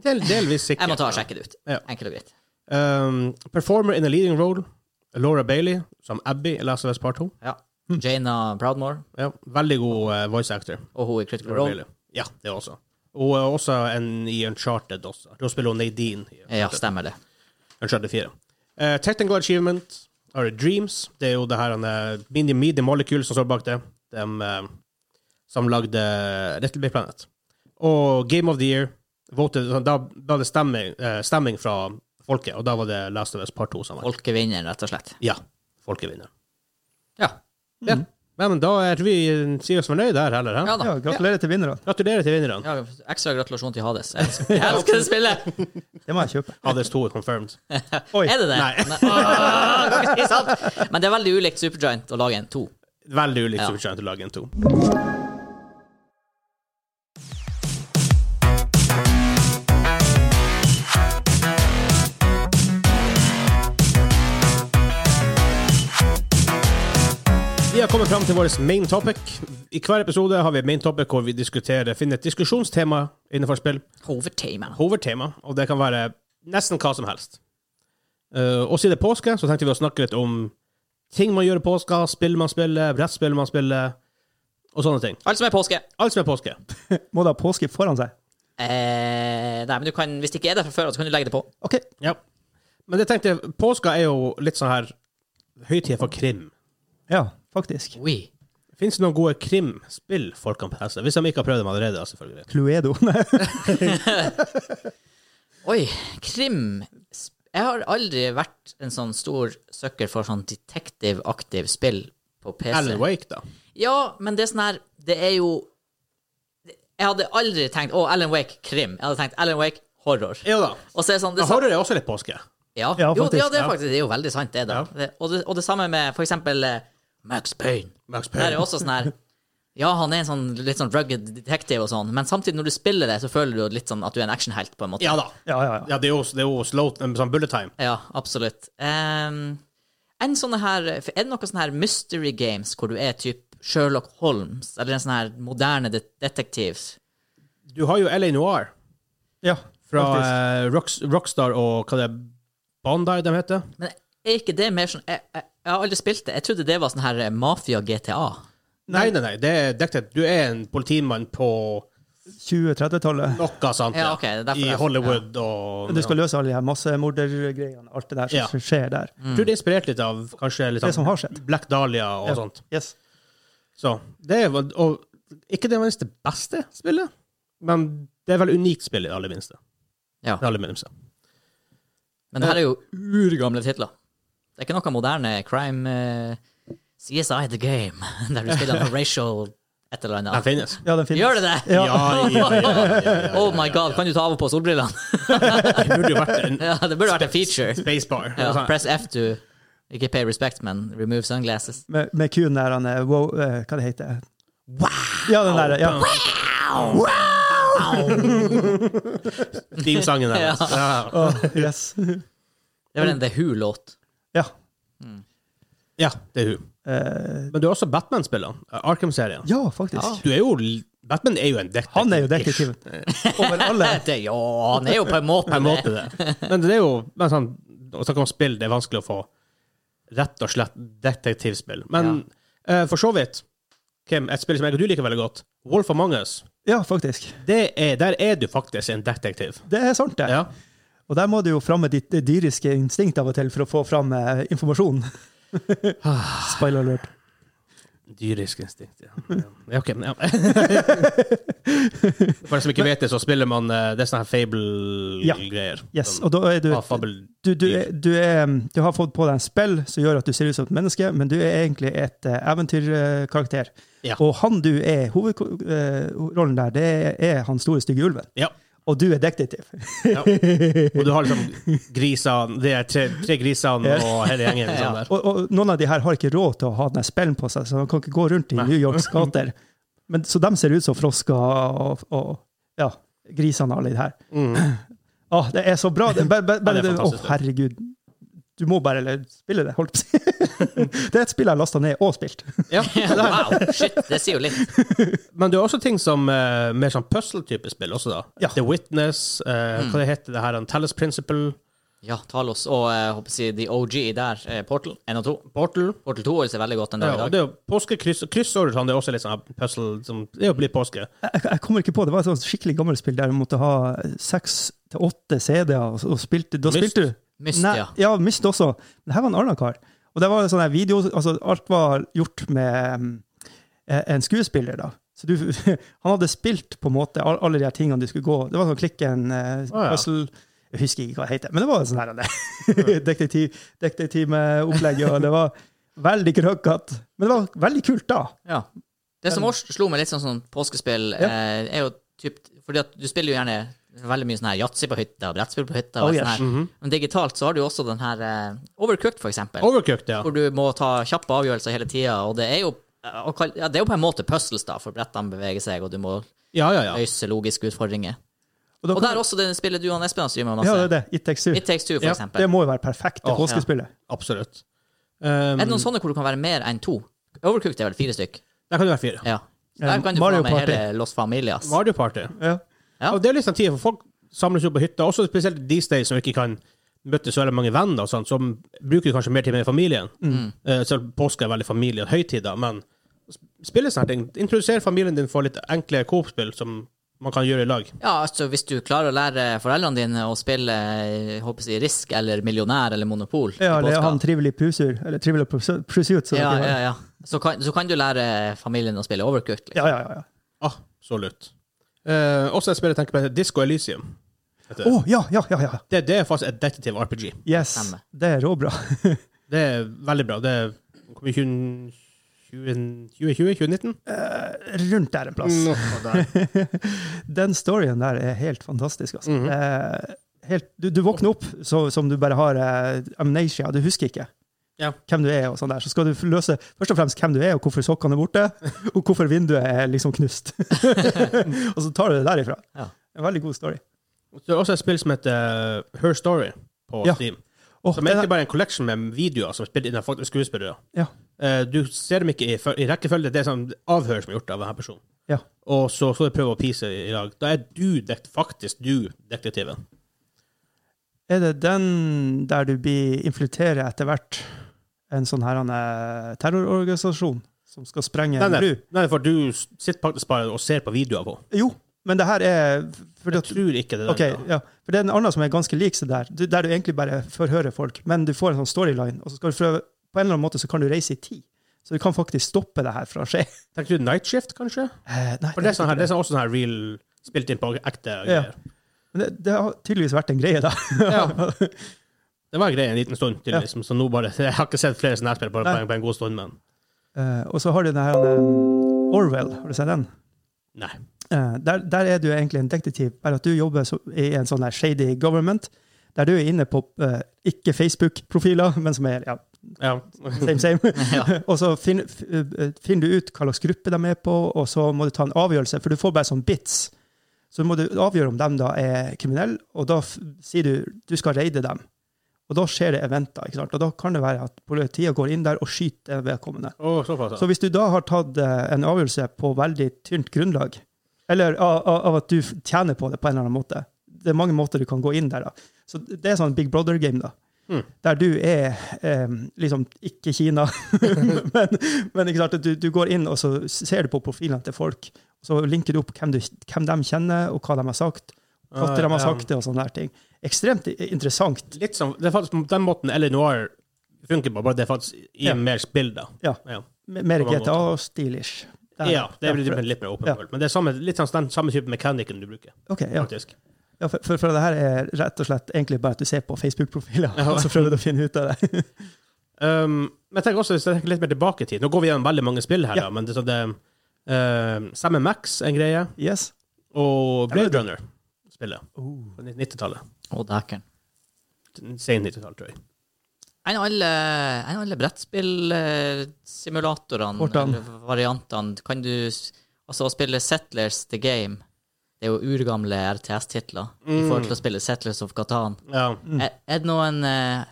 Del, delvis sikkert.
Jeg må ta og sjekke det ut.
Ja.
Enkelt og greit.
Um, performer in a leading role, Laura Bailey, som Abby i Last of Us Part 2.
Ja.
Hm.
Jana Proudmore
Ja, veldig god eh, voice actor.
og hun i Critical
Laura
Role.
Bailey. Ja, det også. Og eh, også en i Uncharted også. Da spiller hun Nadine i
Ja, stemmer det.
Uncharted 4. Eh, technical Achievement are Dreams. Det er jo det her han, eh, Mini Media Molecule som står bak det. De eh, som lagde Little Big Planet. Og Game of the Year voted, sånn, Da da var det stemming, eh, stemming fra folket, og da var det Last of Us Part 2 som vant.
Folkevinner, rett og slett.
Ja. Folket vinner.
Ja.
Ja. Nei, men da er vi eh, sier oss fornøyd der heller. hæ?
Ja da.
Ja, gratulerer til vinnerne.
Gratulerer til vinnerne.
Ja, ekstra gratulasjon til
[laughs]
Hades. Jeg elsker, jeg elsker det spillet!
Det må jeg kjøpe.
Hades 2 er confirmed.
[laughs]
Oi.
Er det det?
Nei.
Åh, kan ikke si sant. Men [laughs] det er veldig ulikt Supergiant å lage en to.
[laughs] Veldig ulikt
Ja.
Supergiant til Lagen 2. Vi har kommet fram til vår main topic. I hver episode har vi et main topic hvor vi diskuterer, finner et diskusjonstema innenfor spill.
Hovedtema.
hovedtema, og det kan være nesten hva som helst. Eh, og siden det er påske, så tenkte vi å snakke litt om ting man gjør i påska, spill man spiller, brettspill man spiller, og sånne ting.
Alt som er påske.
Alt som er påske.
Må da ha påske foran seg.
Eh, nei, men du kan, hvis det ikke er der fra før, så kan du legge det på.
OK.
Ja. Men jeg tenkte, påska er jo litt sånn her høytid for krim.
Ja, faktisk.
Oi.
Fins det noen gode krimspill folk kan passe? Hvis de ikke har prøvd dem allerede, da, selvfølgelig.
Cluedo. [laughs] Nei.
Oi, krim. Jeg har aldri vært en sånn stor søkker for sånn detektiv-aktiv spill på PC.
Alan Wake, da.
Ja, men det er sånn her Det er jo Jeg hadde aldri tenkt Å, Alan Wake, krim. Jeg hadde tenkt Alan Wake, horror.
Ja da.
Og så er det sånn, det er sånn
Horror er også litt påske.
ja.
Ja,
jo,
faktisk.
ja, det er faktisk det er jo veldig sant, det, da. Det, og, det, og det samme med for eksempel eh, Max Payne.
Max
Der er
Payne.
også sånn her Ja, han er en sånn litt sånn rugged detective og sånn, men samtidig, når du spiller det, så føler du jo litt sånn at du er en actionhelt, på en måte.
Ja da.
Ja, ja, ja.
Ja, det er jo, det er jo slow, sånn bullet time.
Ja, absolutt. Ehm, en sånn her, for er det noen sånne her mystery games hvor du er typ Sherlock Holmes, eller en sånn her moderne det detektiv?
Du har jo LA Noir.
ja
Fra
faktisk.
eh, Rocks, Rockstar og hva det er Bandai de heter?
Men er ikke det mer sånn jeg, jeg, jeg har aldri spilt det. Jeg trodde det var sånn her eh, mafia-GTA.
Nei, nei, nei. Det er dekket. Du er en politimann på
20-30-tallet.
noe sånt.
Ja, ok, det er derfor
I
det er-
Hollywood og
Du skal løse alle de her massemordergreiene, alt det der som
Ja. Mm.
skjer der.
Jeg tror det er inspirert litt av kanskje litt
Det som
av
har skjedd.
Black Dahlia og
Ja.
sånt.
Yes.
Så det er vel- og, ikke det minste beste spillet, men det er vel unikt spill i det aller minste.
Ja.
Det aller minste.
Men det her er jo urgamle titler. Det er [laughs] ikke noe moderne crime eh, CSI The Game, der du spiller for racial Et eller
Den
annet.
finnes.
Ja, den finnes.
Gjør det det?
Ja, ja, ja, ja, ja, ja, ja.
[laughs] Oh my god, kan du ta av og på solbrillene? [laughs]
Det burde jo vært en
ja, det burde vært en feature.
spacebar.
Ja,
Sånn.
press F to Ikke pay respect, men remove sunglasses.
Med, med kuen der han er wow, eh, Hva det heter det? Ja, den der, ja.
Teamsangen der.
Ja.
Ja.
Åh, Ah, yes. [laughs]
Det er vel en The Who-låt.
Ja.
ja, det er hun.
Eh,
Men du er også Batman-spilleren. Arkham-serien.
ja, faktisk.
Ja.
Du er jo l- Batman Ah. er jo en detektiv.
Han er jo detektiven. Over alle.
Det, ja, han er jo på en måte
[laughs] På
[laughs]
en
det.
måte, det. Men det er jo men sånn, Å snakke om spill, det er vanskelig å få rett og slett detektivspill. Men eh, for så vidt, Kim, et spill som jeg og du liker veldig godt, Wolf Among Us,
Ja, faktisk.
det er, der er du faktisk en detektiv.
Det er sant, det.
Ja.
Og der må du jo fram med ditt eh, dyriske instinkt av og til for å få fram eh,
[laughs]
informasjon.
Ah.
Spoiler alert.
Dyrisk instinkt, ja. [laughs] ja ok, men ja. [laughs] For de som ikke vet det, så spiller man eh, Det er sånne her fable-greier.
Yes,
Sånn,
og da er du,
ah, fabel-
du, du, er- du, er, du har fått på deg en spill som gjør at du ser ut som et menneske, men du er egentlig et eh, eventyrkarakter.
Ja.
Og han du er, hovedrollen der, det er han store, stygge ulven.
Ja.
Og du er detektiv.
Ja. Og du har liksom grisene Det er tre, tre grisene og hele gjengen. Liksom, der.
Og, og noen av de her har ikke råd til å ha den spillen på seg, så de kan ikke gå rundt i
Nei.
New Yorks gater. Men, så de ser ut som frosker og, og ja, grisene og alle de her.
Mm.
[clears throat] Åh, det er så bra! Det, bare,
Ja,
bare,
det
bare,
er
det
fantastisk.
Åh, herregud. Du må bare eller, spille det, holdt på å si. [laughs] Det er et spill jeg har lasta ned og spilt.
Ja, det er-
Wow, shit, det sier jo litt.
Men det er også ting som eh, mer sånn puzzle-type spill også, da.
Ja.
The Witness, eh, hva det heter det her, en Talis Principle,
Ja, Talos og eh, håper jeg å si The OG der, eh, Portal 1 og 2.
Portal.
Portal 2 holder seg veldig godt den
Ja,
dag i
og
dag.
det er jo påske, kryss, kryssord, sånn, det er også litt sånn puzzle som Det er jo blitt påske.
Jeg, jeg kommer ikke på, Det var et sånt skikkelig gammelt spill der du måtte ha seks til åtte CD-er, og, og spilte, da
Myst.
spilte du
Myst,
Nei,
ja.
ja, Myst også. Men her var en annen kar. Og det var sånn her video, altså alt var gjort med um, eh, en skuespiller, da. Så du, [laughs] han hadde spilt på en måte all- alle de her tingene du skulle gå. Det var sånn klikken, eh,
Å, ja.
puzzle Jeg husker ikke hva det heter, men det var sånn her det. [laughs] detektiv, detektivopplegget, og det var veldig krøkkete. Men det var veldig kult da.
Ja. Det som også slo meg litt sånn, sånn påskespill,
Ja.
eh, er jo typ Fordi at du spiller jo gjerne veldig mye sånn her yatzy på hytta, brettspill på hytta, og
Oh,
alt
yes.
sånn her. men digitalt så har du jo også den her eh, Overcooked, for eksempel,
Oh,
Overcooked, ja.
hvor du må ta kjappe avgjørelser hele tida, og det er jo eh, å kall- ja, det er jo på en måte puzzles, da, for brettene beveger seg, og du må
Ja, ja, ja.
løse logiske utfordringer.
da
Og der også det spillet du og Espen har streama
ja,
masse.
det er det. It Takes Two.
Altså, It Takes Two, for
Ja,
eksempel.
Det må jo være perfekt
Åh,
til
ja.
påskespillet.
Absolutt. Um,
Er det noen sånne hvor du kan være mer enn to? Overcooked er vel fire stykk?
der kan du være fire.
Ja.
Ja,
Der kan du få
Mario
med
Party.
hele Los Familias.
Mario Party.
Ja.
Ja.
Og det er litt sånn tid, for folk samles jo på hytta, også spesielt de steder som ikke kan møte så veldig mange venner, og sånt, som bruker kanskje mer tid med familien. Eh, Selv påske er veldig familie- og høytid, da, men sp- spille sånne ting. Introdusere familien din for litt enkle Coop-spill som man kan gjøre i lag.
Ja, altså hvis du klarer å lære foreldrene dine å spille eh, håper jeg, å si, Risk eller Millionær eller Monopol i
ja, eller
påska.
han Trivelig Pusur, eller Trivelig Pursuit. som
ja,
dere
ja,
har.
ja. Så, kan, så kan du lære familien å spille Overcooked. Liksom.
ja, ja, ja, ja.
Absolutt. Ah, Eh, også et spill jeg tenker på, heter Disco Elysium. heter
Å,
Det.
ja, ja, ja, ja.
Det, det er faktisk et detektiv RPG.
Yes,
Stemmer.
det er råbra.
Det er veldig bra. Det er- kom i 20- 20- 2020? 2019?
Eh, Rundt der en plass.
Noe der.
[laughs] Den storyen der er helt fantastisk, altså.
Mm-hmm.
Eh, helt, du, du våkner opp så, som du bare har eh, amnesia, du husker ikke
Ja.
hvem du er og sånn der. Så skal du løse først og fremst hvem du er, og hvorfor sokkene er
[laughs]
borte, og hvorfor vinduet er liksom knust. og så tar du det derifra.
Ja.
En veldig god story.
Så Det er også et spill som heter eh, Her Story på
Ja.
Steam.
Åh,
Som
den
egentlig bare er en collection med videoer som er spilt inn av faktisk skuespillere.
Ja.
Eh, Du ser dem ikke i, fø- i rekkefølge. Det er sånn avhør som er gjort av denne personen.
Ja.
Og så skal du prøve å pise i lag. Da er du dekt, faktisk du detektiven.
Er det den der du blir infiltrerer etter hvert en sånn her han er terrororganisasjon som skal sprenge
Nei,
en
nei,
bru?
nei, for du s- sitter faktisk bare og ser på videoer på.
Jo, men det her er fordi
Jeg
at,
tror ikke det er den.
Ok,
da.
ja. For det er en annen som er ganske lik seg der, du- der du egentlig bare forhører folk, men du får en sånn storyline, og så skal du prøve På en eller annen måte så kan du reise i tid, så du kan faktisk stoppe det her fra å skje.
Tenker du Night Shift, kanskje?
Eh, nei,
For det er, sånn her, det er sånn også sånn her real spilt inn på ekte
[laughs]
greier.
Men det, det har tydeligvis vært en greie, da.
Ja. Det var en greie en liten stund, liksom,
Ja.
tydeligvis. [laughs] Så nå bare Jeg har ikke sett flere sånne her spill på, på,
Nei.
en- på en god stund, men
Eh, og så har du den her eh, Orwell, har du sett den?
Nei.
Eh, der, der er du egentlig en detektiv, bare at du jobber så, i en sånn der shady government, der du er inne på eh, ikke Facebook-profiler, men som er ja,
Ja.
[laughs] same, same.
Ja.
og så finner eh, finner du ut hva slags gruppe de er på, og så må du ta en avgjørelse, for du får bare sånn bits. Så må du avgjøre om de da er kriminelle, og da f sier du du skal raide dem. Og da skjer det eventer, ikke sant? og da kan det være at politiet går inn der og skyter vedkommende.
Å, såpass, ja.
Så hvis du da har tatt eh, en avgjørelse på veldig tynt grunnlag, eller av, av- av at du f- tjener på det på en eller annen måte Det er mange måter du kan gå inn der. da. Så Det er sånn Big Brother-game, da.
Mm.
Der du er eh, liksom ikke Kina, [laughs] men, men ikke sant? Du, du går inn og så ser du på profilene til folk. Så linker du opp hvem, du, hvem de kjenner, og hva de har sagt. Hva de har
Ah, Ja, ja.
sagt det, og sånne her ting. Ekstremt i- interessant.
Litt som, det er faktisk på den måten L.A. Noir funker på, bare det er faktisk i
Ja.
mer spill, da.
Ja.
Ja,
M- Mer
På mange
GTA-stilish.
ja det blir
Ja, for-
litt mer åpen
ja.
world. Men det er samme, litt sånn, den samme type mekanikken du bruker,
Ok, ja.
faktisk.
Ja, for, for, for det her er rett og slett egentlig bare at du ser på Facebook-profiler,
Ja.
og så prøver du å finne ut av
[laughs]
det.
Um, men jeg tenker også, hvis jeg tenker litt mer tilbake i tid Nå går vi gjennom veldig mange spill her,
Ja.
da, men det, er sånn det um, Samme Max er en greie,
Yes.
og Blade
Ja,
Runner spillet
Oh.
på 90-tallet.
Å, dæken.
Sen 90-tall, tror jeg.
En av alle, en av alle brettspillsimulatorene,
Fortan.
eller variantene, kan du s- Altså, å spille Settlers The Game Det er jo urgamle RTS-titler i forhold
Mm.
til å spille Settlers of Catan.
Ja.
Er, er det noen eh,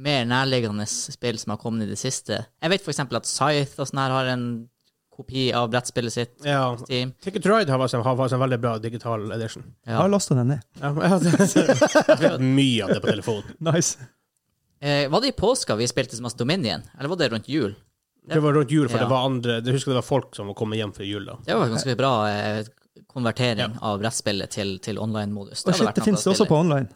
mer nærliggende spill som har kommet i det siste? Jeg vet for eksempel at Scythe og sånn her har en kopi av brettspillet sitt.
ja.
på Steam.
Ticket to Ride har faktisk en- har faktisk en veldig bra digital edition.
Jeg
Ja.
har lasta den ned.
Ja, jeg har [laughs] jeg har spilt mye av det på telefonen.
Nice.
Eh, var det i påska vi spilte som masse Dominion, eller var det rundt jul?
Det var rundt jul, for
Ja.
det var andre Jeg husker det var folk som var kommet hjem før jul, da.
Det var ganske bra eh, konvertering av brettspillet til, til online-modus.
Og shit, det finnes det også på online.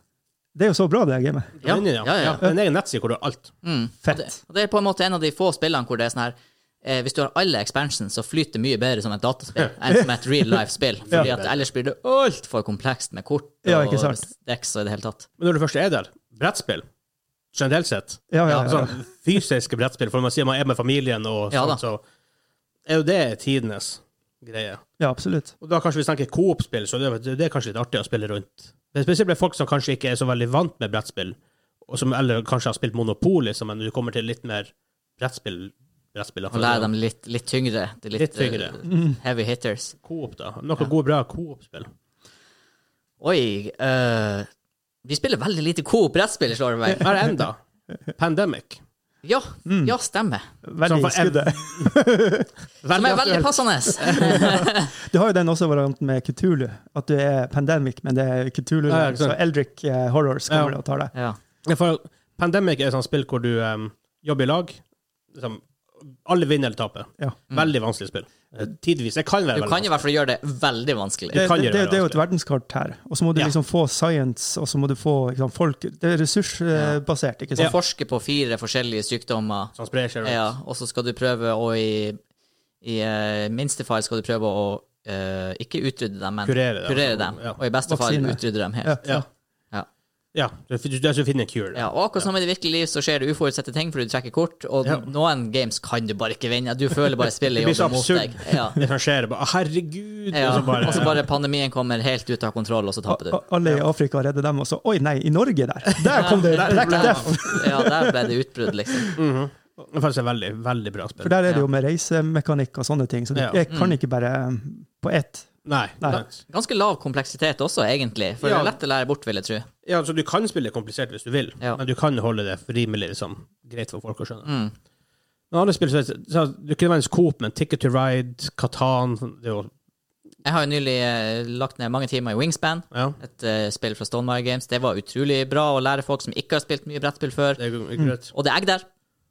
Det er jo så bra, det gamet.
Ja,
Dominion,
ja, ja.
En egen nettside hvor du har alt.
Mm.
Fett.
Og det, og det er på en måte en av de få spillene hvor det er sånn her eh, Hvis du har alle expansions, så flyter det mye bedre som et
[laughs]
dataspill enn som et real life-spill. Fordi at ellers blir det altfor komplekst med kort og
Ja, ikke sant.
dekks og i det hele tatt.
Men når du først er der, brettspill generelt sett,
Ja, ja, ja.
sånn fysiske brettspill, for man sier man er med familien og
Ja, da.
sånt, så er jo det tidenes greie.
ja absolutt.
Og da kanskje vi snakker Coop-spill, så det, det er kanskje litt artig å spille rundt. Men spesielt med folk som kanskje ikke er så veldig vant med brettspill, og som eller kanskje har spilt Monopol, liksom, men du kommer til litt mer brettspill. brettspill
Og lære dem litt, litt tyngre. Det er
Litt tyngre.
eh, heavy hitters.
Coop, da. Noe gode, bra Coop-spill.
Oi eh, Vi spiller veldig lite Coop-brettspill, slår det meg.
Her enda. Pandemic.
Ja,
Mm.
ja, stemmer.
Sånn
Veldig
for
i [laughs] skuddet.
Som er veldig
aktuelt.
passende.
Du har jo den også varianten med Kutulu, at du er pandemic, men det er Kutulu,
Ja, ja, ikke sant.
så Eldrick eh,
[laughs]
Horrors
Ja.
kommer og
[laughs]
tar deg.
Ja.
Ja, for Pandemic er et sånt spill hvor du em, jobber i lag. Liksom, alle vinner eller taper.
Ja.
Veldig vanskelig spill. Eh, Tidvis. Det kan
Mm. Du
være
kan
veldig
i hvert fall gjøre det veldig vanskelig.
Det
Det,
kan
det,
gjøre
det,
det
det er jo et verdenskart her, og så må du
Ja.
liksom få science, og så må du få ikke sant, folk Det er ressursbasert, eh,
Du
ikke sant?
forsker på fire forskjellige
vanskelig.
sykdommer.
Sånn Som sprer seg rundt.
Ja, og så skal du prøve å i, i eh, minste fall skal du prøve å eh, ikke utrydde dem, men
Kurere dem.
dem.
Ja.
Og i beste
Vaksine.
fall utrydde dem helt.
Ja.
Ja.
Ja.
Ja.
ja. Du, du, du, du finner en cure. da.
og akkurat som i det virkelige liv, så skjer det uforutsette ting fordi du trekker kort, og
Ja.
noen games kan du bare ikke vinne. Du føler bare spillet
Det blir så
jobber mot
absurd.
deg. Ja.
[laughs] Det som skjer, er bare Herregud!
Ja.
Og så bare,
[laughs] Og så bare pandemien kommer helt ut av kontroll, og så taper du.
A- Alle i Afrika redder dem også. Oi, nei, i Norge
[laughs]
der! Der kom det!
Der
Black
ble-
Death!
Ja, der ble det utbrudd, liksom.
Mhm. Det er faktisk et veldig, veldig bra
For
spill.
der er det
Ja. Mm.
jo med reisemekanikk og sånne ting, så du
Ja.
jeg kan ikke bare um, på ett.
Nei.
Nei.
nei.
Ganske lav kompleksitet også, egentlig, for
Ja.
det er lett å lære bort, vil jeg tro.
Ja, altså, du kan spille det komplisert hvis du vil,
Ja.
men du kan holde det rimelig liksom, greit for folk å skjønne.
Mm.
Men andre spill, så, så, du kunne være en Coop, men Ticket to Ride, Katan det er jo,
Jeg har jo nylig eh, lagt ned mange timer i Wingspan.
ja.
Et eh, spill fra Stonemire Games. Det var utrolig bra å lære folk som ikke har spilt mye brettspill før.
Det er jo greit.
Og det er egg
[laughs]
der.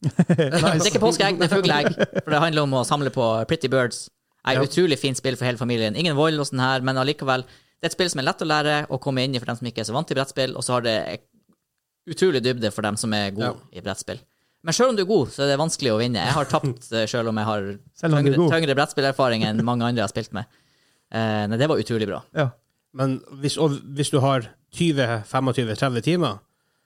Det er
nice.
ikke påskeegg, det er fugleegg. For det handler om å samle på Pretty Birds. Et
Ja.
utrolig fint spill for hele familien. Ingen vold og sånn her, men allikevel. Det er et spill som er lett å lære å komme inn i for dem som ikke er så vant til brettspill, og så har det utrolig dybde for dem som er gode i brettspill. Men sjøl om du er god, så er det vanskelig å vinne. Jeg har tapt sjøl om jeg har
Selv om du er
tyngre,
god.
tyngre brettspillerfaring enn mange andre jeg har spilt med. Eh, nei, det var utrolig bra.
Ja.
Men hvis, og hvis du har 20, 25, 30 timer,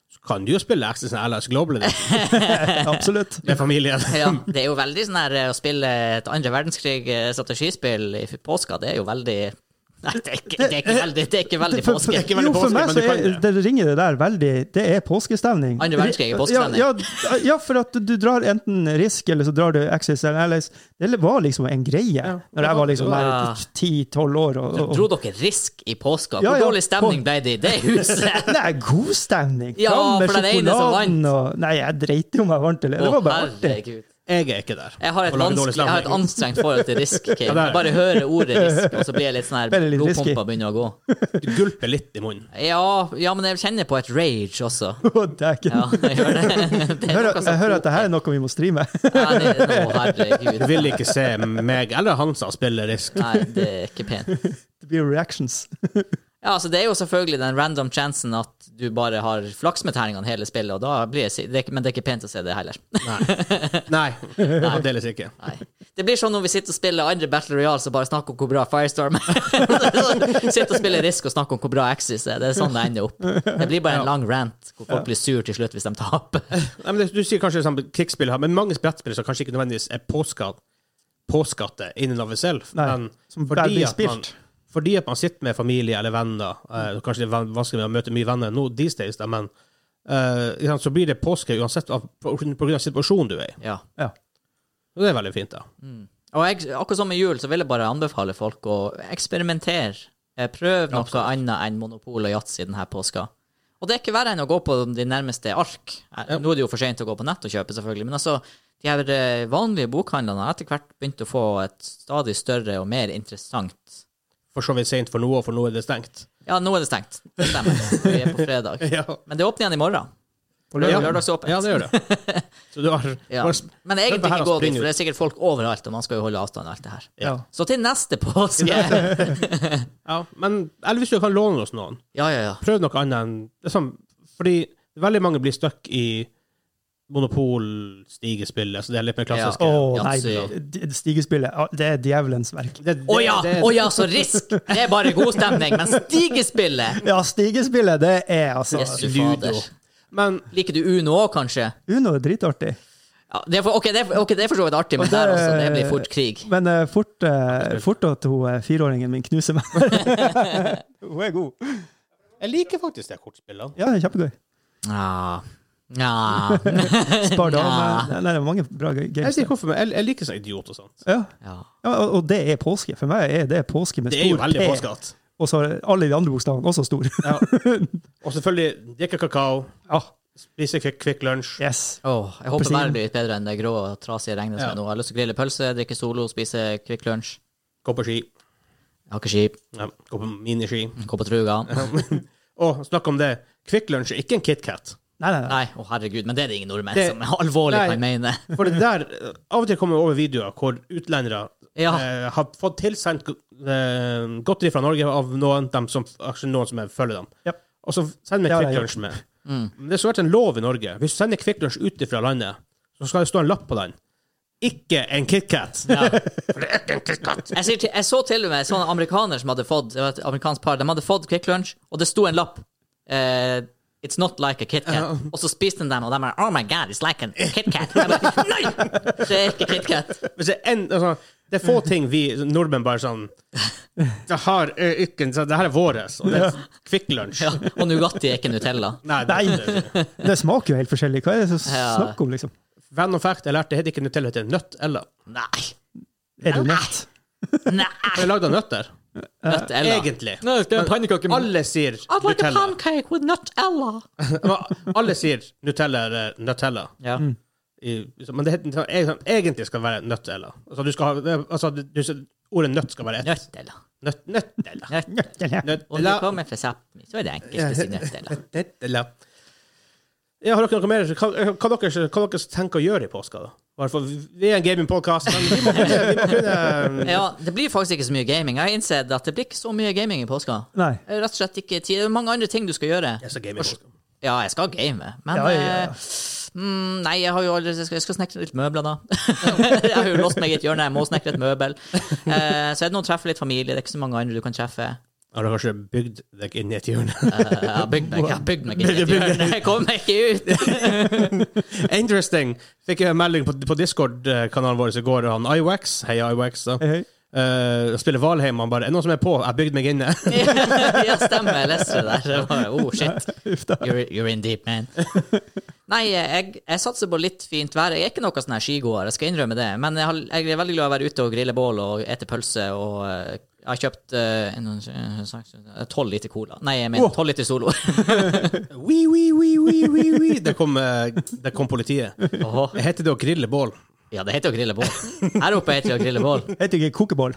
så kan du jo spille Access and Allies
[laughs]
Global Edition
Absolutt.
med familien.
Ja, det er jo veldig sånn her eh, å spille et andre verdenskrig-strategispill i påska. Det er jo veldig Nei, det er ikke, det er ikke veldig, det er ikke veldig
For- [laughs]
påske.
ikke veldig
jo, for
påske,
meg
men
så
du kan
er, det ringer det der veldig Det er påskestemning.
Andre verdenskrig er påskestemning.
Ja, ja, ja, for at du drar enten Risk, eller så drar du Axis eller Allies. Det var liksom en greie
Ja.
når jeg var liksom
Ja.
10-12 år. Og, og,
Dro dere risk i påska?
Ja,
Hvor
ja,
dårlig stemning
på-
ble det i det
[laughs]
huset?
Nei, god stemning!
Ja,
Fram med
for den ene som
sjokoladen og Nei, jeg dreit i om jeg vant eller
Å,
Det var bare artig.
herregud.
Jeg er ikke der.
Jeg har, et
Og lager dårlig
vanskelig- jeg har et
stemning.
anstrengt forhold til
[laughs]
risk.
Ja,
Kim.
det er det.
Jeg bare hører ordet risk, og så blir jeg litt sånn her
Bare litt risky.
Blodpumpa begynner å gå.
Du gulper litt i munnen.
Ja, ja, men jeg kjenner på et rage også.
[laughs] Å, dæken.
Ja, jeg gjør det. [laughs] Det er
Jeg hører,
noe som
jeg hører at det her er noe vi må streame. [laughs]
Ja, det er noe, herregud.
Du vil ikke se meg eller Hansa spille Risk.
Nei, det er ikke pent.
Det blir reactions.
Ja, altså Det er jo selvfølgelig den random chansen at du bare har flaks med terningene hele spillet, og da blir jeg, si- det er, ikke- men det er ikke pent å se det heller. [laughs]
Nei. Nei. Fremdeles ikke.
Nei. Det blir sånn når vi sitter og spiller andre Battle Royale, så bare snakker om hvor bra Firestorm er. [laughs] sitter og spiller Risk og snakker om hvor bra Axis er. Det er sånn det ender opp. Det blir bare en lang rant hvor folk blir sur til slutt hvis de taper.
Nei, men det- du sier kanskje sånn krigsspill, her, men mange brettspill som kanskje ikke nødvendigvis er påskatt, påskatte in and of itself,
Nei,
men
som bare
fordi
blir
at, man,
spilt. Mm.
fordi at man sitter med familie eller venner eh, Kanskje det er van- vanskelig å møte mye venner nå these days, da, men eh, ikke sant, så blir det påske uansett av, på, på grunn av situasjonen du er i.
Ja.
Ja.
Og det er veldig fint, da.
Og jeg, akkurat som med jul, så vil jeg bare anbefale folk å eksperimentere. Eh, Prøv noe annet enn Monopol og Yatzy denne påska. Og det er ikke verre enn å gå på de nærmeste ark. Eh, Nå er det jo for sent å gå på nett og kjøpe, selvfølgelig, men altså, de her eh, vanlige bokhandlene har etter hvert begynt å få et stadig større og mer interessant
For så vidt seint for noe, og for noe er det
[laughs]
stengt.
Ja, nå er det stengt. Det stemmer. Vi er på fredag.
Ja,
Men det åpner igjen i morgen.
På
Det er
lørdag.
Ja.
Lørdagsåpent.
ja det gjør det.
[laughs]
Så du har, du
Ja.
har sp-
Men egentlig
Kjøp her
ikke
og
gå dit,
spring
for
ut.
det er sikkert folk overalt, og man skal jo holde avstand og alt det her.
Ja.
Så til neste påske!
ja, men Eller hvis du kan låne oss noen.
Ja, ja, ja.
prøv noe annet enn liksom, Fordi veldig mange blir stuck i monopol-stigespill. Altså det er litt mer klassiske.
Å,
Ja,
nei.
så-
d- Stigespillet, ah, det er djevelens verk.
Det- det-
Å ja,
det-
å ja, så risk! Det er bare god stemning. Men stigespillet
Ja, stigespillet, det er altså
Yes. Fy
Ludo.
fader.
Men
Liker du Uno òg, kanskje?
Uno er dritartig.
Ja, det er for, ok, det er, ok, det er for så vidt artig, men
det-
der også, det blir fort krig.
Men eh, fort, eh, fort at hun eh, fireåringen min knuser meg. [laughs] hun er god.
jeg liker faktisk det kortspillet.
Ja, det er kjempegøy.
Ja.
[laughs]
Ja.
Spar
Ja.
damer. Nei, det er mange bra g-
Jeg
games.
vet ikke hvorfor, men jeg, jeg liker sånn idiot og sånt.
Ja.
ja.
Ja, og- og det er påske. For meg er det påske med
Det er jo
stor
veldig altså.
P.
påskatt.
Og så er alle de andre bokstavene også stor.
Ja. Og selvfølgelig drikke kakao,
[laughs] ja,
spise Kvikk Kvikk Lunsj.
yes.
Åh, jeg håper
Appelsin.
været blir litt bedre enn det grå og trasige regnet som
Ja.
er nå. Jeg har lyst til å grille pølse, drikke Solo, spise Kvikk Lunsj.
Gå på ski.
Jeg har ikke skip,
Ja, gå på miniski.
gå på truga.
Og snakk om det. Kvikk Lunsj er ikke en KitKat.
Nei, nei, nei.
Nei, å herregud, men det er det ingen nordmenn
Det-
som alvorlig
Nei.
kan mene.
For det der, eh, Av og til kommer jeg over videoer hvor utlendere
Ja.
eh, har fått tilsendt eh, godteri fra Norge av noen, dem som, altså noen som følger dem.
Ja.
Og så sender vi
Ja, det har jeg
Kvikk Lunsj med. Men Det er så vært en lov i Norge. Hvis du sender Kvikk Lunsj ut fra landet, så skal det stå en lapp på den. Ikke en KitKat!
Ja.
For det er ikke en KitKat!
Jeg, sier til, jeg så til og med sånne amerikaner som hadde fått det var et amerikansk par, de hadde fått Quick Lunch, og det sto en lapp eh, It's not like a KitKat. Og så spiste de den, og de bare Oh my God, it's like a KitKat. Jeg bare, Nei! Det er ikke KitKat.
Hvis det, er en, altså, det er få ting vi nordmenn bare sånn Det har eh, ikke en- så Det her er våres, og det er Kvikk Lunsj.
Ja, og Nugatti er ikke Nutella.
Nei, det, det, det.
Det smaker jo helt forskjellig. Hva er det som
Ja.
snakk om, liksom?
Venn og fact, jeg lærte det heter ikke Nutella, det heter nøtt eller.
Nei.
Er det nett?
Det
Nei.
er lagd av nøtter.
Nutella.
Egentlig.
Nei, det er en pannekake med
Alle sier
I'd like
[laughs]
a
Nutella.
pancake with Nutella.
Men Alle sier Nutella eller Nutella.
Ja.
I, men det heter, eg- egentlig skal det være Nutella. Altså, du skal ha, altså, du, du- ordet nøtt skal være ett.
Nutella.
Nøtt, nøttella.
Nut-
Eller-
Om du
Nøttella.
kommer fra Sápmi, så er det enkelt å si Nutella.
Nøttella. Ja, har dere noe mer? Hva, hva, dere, hva dere tenker å gjøre i påska? da? Bare for- Vi er en gamingpodkast, men vi må kunne, vi må kunne
Ja, det blir faktisk ikke så mye gaming. Jeg har innsett at det blir ikke så mye gaming i påska.
Nei.
Rett og sltt ikke tid. Det er mange andre ting du skal gjøre.
Jeg skal game i påska.
Ja, jeg skal game, men
Ja, ja, ja.
eh, Mm, Nei, jeg har jo aldri Jeg skal, jeg skal snekre litt møbler, da. [laughs] jeg har jo låst meg i et hjørne, jeg må snekre et møbel. Eh, så er det noen treffer litt familie, det er ikke så mange andre du kan treffe.
Har du kanskje bygd deg inn i et hjørne? [laughs]
Eh, Jeg har bygd meg, jeg har bygd meg inn i et
Bygd-
hjørne. Jeg kommer meg ikke ut!
Interesting! Fikk jeg en melding på, på Discord-kanalen vår i går, han Iwax. Hei, Iwax. da.
Hei, hei.
Eh, spiller Valheim, han bare Er det noen som er på? Jeg bygde meg inne. [laughs]
Ja, stemmer. Jeg leste det der. Jeg bare, Oh, shit.
[laughs] Uff da.
You're, you're in deep, man. Nei, jeg, jeg satser på litt fint vær. Jeg er ikke noe sånn her skigåer, jeg skal innrømme det. Men jeg, har, jeg er veldig glad i å være ute og grille bål og ete pølse og eh, jeg har kjøpt eh, tolv liter cola. Nei, jeg mener
Wow.
tolv liter Solo. [laughs]
Wi, wi, wi, wi, wi, wi. Der kom, eh, der kom politiet.
Åhå.
Heter det å grille bål?
Ja, det heter jo å grille bål. Her oppe heter det å grille bål.
Heter ikke kokeboll.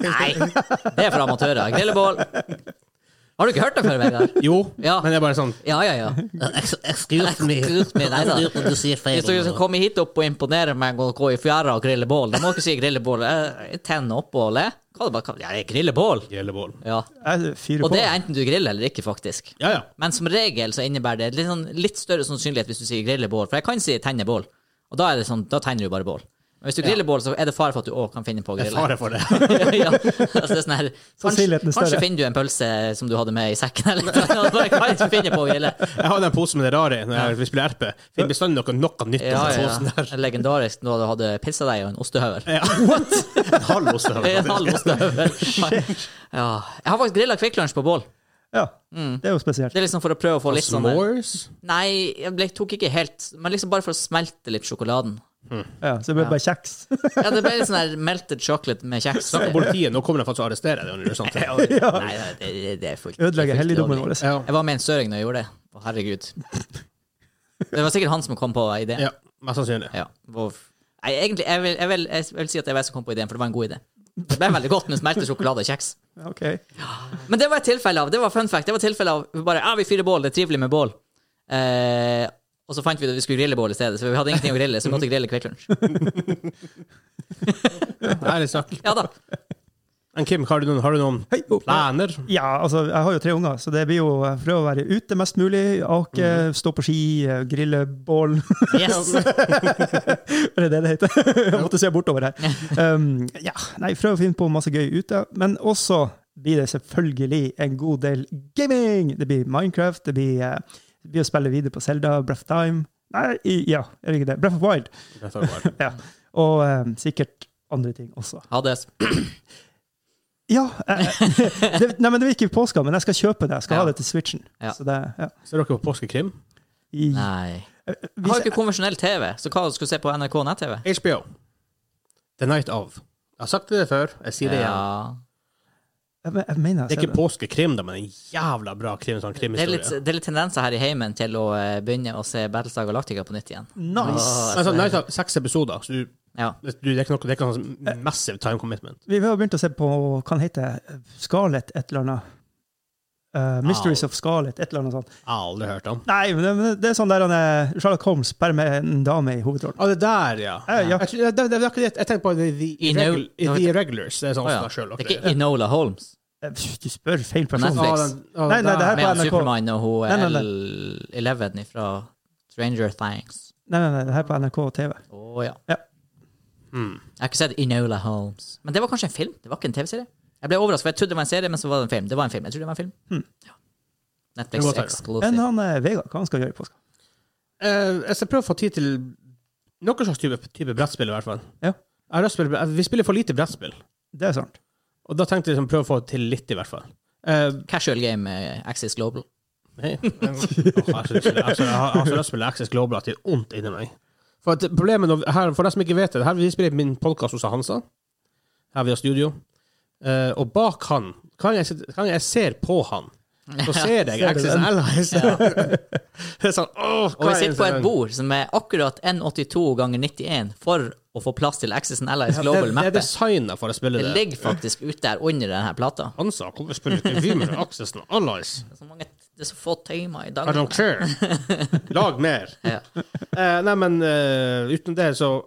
Nei, det er for amatører. Grille bål. Har du ikke hørt det før, Vegard?
Jo,
Ja.
men det er bare sånn
Ja, ja, ja.
Excuse me.
Excuse me, nei da.
Excuse me, du sier feil.
Hvis du skal komme hit opp og imponere meg og gå i fjæra og grille bål, da må du ikke si grille bål. Eh, Tenne opp bålet. Hva er det bare kall- Ja, det er grille bål.
grille bål.
Ja.
Jeg fyrer
Og
på.
det er enten du griller eller ikke, faktisk.
Ja, ja.
Men som regel så innebærer det litt, sånn, litt større sannsynlighet hvis du sier grille bål, for jeg kan si tenne bål, og da er det sånn, da tenner du bare bål. Men hvis du griller bål, så er det fare for at du òg kan finne på å
Det er fare
grille.
for det.
[laughs] ja, altså det er sånn her, kanskje,
Sannsynligheten er større.
kanskje finner du en pølse som du hadde med i sekken, eller noe. Bare kan ikke finne på å grille.
Jeg hadde en pose med det rare når jeg, vi spiller RP. Finner bestandig noe, noe nytt.
Ja,
[laughs] Ja,
ja,
Posen
ja.
der.
sånn, Legendarisk når du hadde pissa deg og en ostehøvel.
Ja. What?! En [laughs] halv ost. da,
[laughs] En halv
faktisk.
ostehøvel. Ja. Jeg har faktisk grilla Kvikk Lunsj på bål.
Ja, det er jo spesielt.
Det er liksom for å prøve å få litt sånn
S'mores?
Nei, jeg ble, tok ikke helt, men liksom bare for å smelte litt sjokoladen.
Ja, så det blir bare kjeks. [laughs]
Ja, det ble litt sånn her melted chocolate med kjeks.
Snakk
[laughs]
om politiet, nå kommer de faktisk og arresterer deg. Det er sant.
Nei, nei, det, det- det er fullt
Ødelegger
det er fullt
helligdommen
lovlig.
vår.
Ja.
Jeg var med en søring når jeg gjorde det. Å, herregud. Det var sikkert han som kom på ideen.
ja, mest sannsynlig.
Ja. Hvor- Nei, egentlig, jeg vil, jeg, vil, jeg vil si at jeg var jeg som kom på ideen, for det var en god idé. Det ble veldig godt med smeltet sjokolade og kjeks.
Ok.
Men det var et tilfelle av, det var fun fact, det var et tilfelle av vi bare, ja, vi fyrer bål, det er trivelig med bål. Eh, og så fant vi ut at vi skulle grille bål i stedet, så vi hadde ingenting å grille, så vi måtte grille Kvikk Lunsj.
Ærlig snakk.
Ja da.
Men Kim, har du noen, har du noen
Hei, opp.
planer?
Ja, altså, jeg har jo tre unger, så det blir jo eh, prøve å være ute mest mulig. Ake, stå på ski, eh, grille bål. [laughs]
[laughs] Yes.
Er det det det heter? [laughs] Jeg måtte se bortover her. Um, ja, nei, prøve å finne på masse gøy ute. Men også blir det selvfølgelig en god del gaming! Det blir Minecraft, det blir, eh, det blir å spille videre på Zelda, Breath of Time Nei, i- ja, er det ikke det? Breath of Wild. Ja. Og eh, sikkert andre ting også.
Hades.
Ja. eh, det, nei, men det blir ikke påska, men jeg skal kjøpe det. Jeg skal
Ja.
ha det til Switchen.
Ja.
Så det, ja.
Ser dere på Påskekrim?
I,
Nei. Jeg har
Eh, hvis,
jo ikke konvensjonell TV, så hva skal du se på NRK nett-TV?
HBO. The Night Of. Jeg har sagt det før, jeg sier det igjen.
Ja.
jeg, jeg mener
Det er
jeg ser
ikke
det.
påskekrim, da, men en jævla bra krim, sånn
Det er, litt,
krimhistorie.
det er litt tendenser her i heimen til å eh, begynne å se Battlestar Galactica på nytt igjen.
Nice!
Men sånn, Night Of, seks episoder, så du,
Ja.
du, det er ikke noe, det er ikke noe sånn massive time commitment.
Vi har begynt å se på hva den heter Scarlet et eller annet. Eh, Mysteries of Scarlet, et eller annet sånt.
Jeg har aldri hørt om.
Nei, men det, det er sånn der han er Sherlock Holmes, bare med en dame i hovedrollen.
Å, det der, ja.
Eh, ja.
Jeg, tror- det, det, det, er ikke det- jeg tenker på The, the,
Inno-
irregu- the Irregulars. Det er sånn
Å, ja.
som Sherlock.
Det er ikke Inola Holmes.
Eh, Du spør feil person.
Netflix.
Nei, nei, det her-
Med han
NRK.
Supermann og hun
Nei, nei, nei.
L11 fra Stranger Things.
Nei, nei, nei, det her er på NRK TV.
Å ja.
Ja.
Mm.
Jeg har ikke sett Inola Holmes. Men det var kanskje en film? Det var ikke en TV-serie? Jeg ble overrasket, for jeg trodde det var en serie, men så var det en film. Det var en film. Jeg tror det var en film.
Hmm.
Ja.
Det var
Netflix
det, ja.
Men
exclusive.
han eh, Vegard, hva han skal gjøre i påska?
Eh, jeg skal prøve å få tid til noen slags type, type brettspill, i hvert fall.
Ja.
Jeg har lyst til å spille- vi spiller for lite brettspill,
Det er sant.
og da tenkte jeg liksom prøve å få til litt, i hvert fall. Eh,
Casual game eh, Axis Global.
[laughs] Hei. Åh, jeg synes- jeg- altså, jeg har jeg har så lyst til å spille Access Global at det er vondt inni meg. For at problemet nå- her, for de som ikke vet det, her vi spiller min podkast hos Hansa. Her vi har studio. Eh, og bak han Hver gang jeg, sitter- hver gang jeg ser på han, så
[laughs]
ser jeg
Ser du
Access
den?
Allies. [laughs] Det er sånn åh,
Og
hva
vi
er
sitter på
det?
et bord som er akkurat 1,82 ganger 91 for å få plass til Axis and Allies Global
Det, det er
Mappet.
designa for å spille
Det
det.
ligger faktisk ute der under denne plata.
Hansa, hvorfor spiller ikke vi med Access and Allies?
Det er så, mange, det er så få timer i
I
dag.
don't
[laughs]
care. Lag mer.
Ja.
Eh, nei, men eh, utenom det, så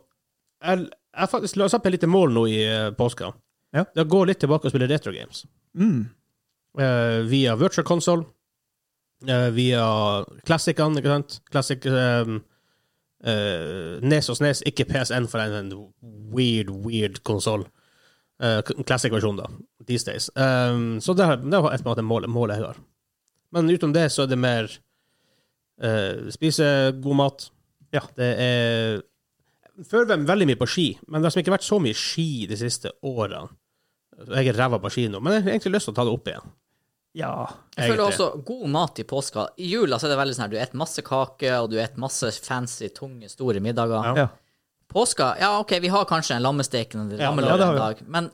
Jeg jeg har faktisk satt meg litt mål nå i eh, påska.
Ja.
Det går litt tilbake og spille retro games.
Mm.
Eh, via virtual console. eh, via klassikerne, ikke sant? Classic ehm, eh, Nes og Snes, ikke PSN for en, en weird, weird konsoll. Eh, k- classic versjon, da. These days. Um, så det, har- det var et på en måte målet, målet jeg har. Men utenom det så er det mer eh, spise god mat.
Ja.
Det er Før var jeg veldig mye på ski, men det har liksom ikke vært så mye ski de siste årene. Jeg er ræva på ski nå, men jeg har egentlig lyst til å ta det opp igjen.
Ja.
Jeg føler
Egentlig.
også god mat i påska. I jula så er det veldig sånn her, du et masse kake, og du et masse fancy, tunge, store middager.
Ja.
ja.
Påska, ja ok, vi har kanskje en lammestek en
Ja,
lammelår
ja, det har
en
vi.
dag, men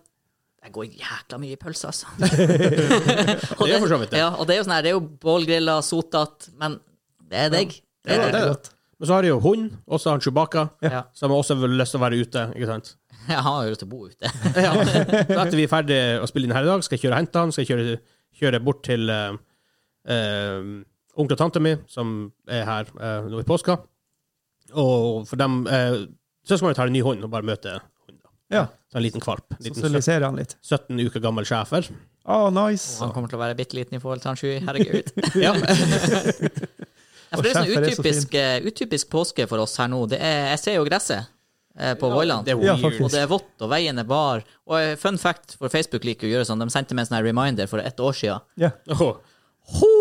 jeg går jækla mye i pølse,
[laughs]
altså.
Det er for så vidt det.
Ja, og det er jo sånn her, det er jo bålgriller, sotat, men det er deg. Det
Ja,
er
det
deg.
er det. Men så har de jo hund, og så har han Chewbacca,
Ja.
som også har lyst til å være ute. ikke
[laughs]
sant?
Jeg har jo lyst til å bo ute.
Ja. Så etter vi er ferdig å spille inn her i dag, skal jeg kjøre og hente han, skal jeg kjøre, kjøre bort til eh, eh, onkel og tante mi, som er her eh, nå i påska. Og for dem uh, Søskenbarnet tar en ny hund og bare møter hunden. da.
ja.
Så en liten kvalp. En liten søt-
Sosialiserer han litt.
17 uker gammel schæfer.
Å,
Og
nice.
han kommer til å være bitte liten i forhold til han Shui. Herregud.
Ja. [laughs]
Ja, for det er
Og
sånn
skjerf er så
utypisk, eh, utypisk påske for oss her nå. Det er, jeg ser jo gresset eh, på Voiland.
Det er
Ja,
weird.
Og det er vått, og veien er bar. Og eh, fun fact, for Facebook liker å gjøre sånn, de sendte meg en sånn her reminder for ett år siden.
Ja.
Åh,
Ho!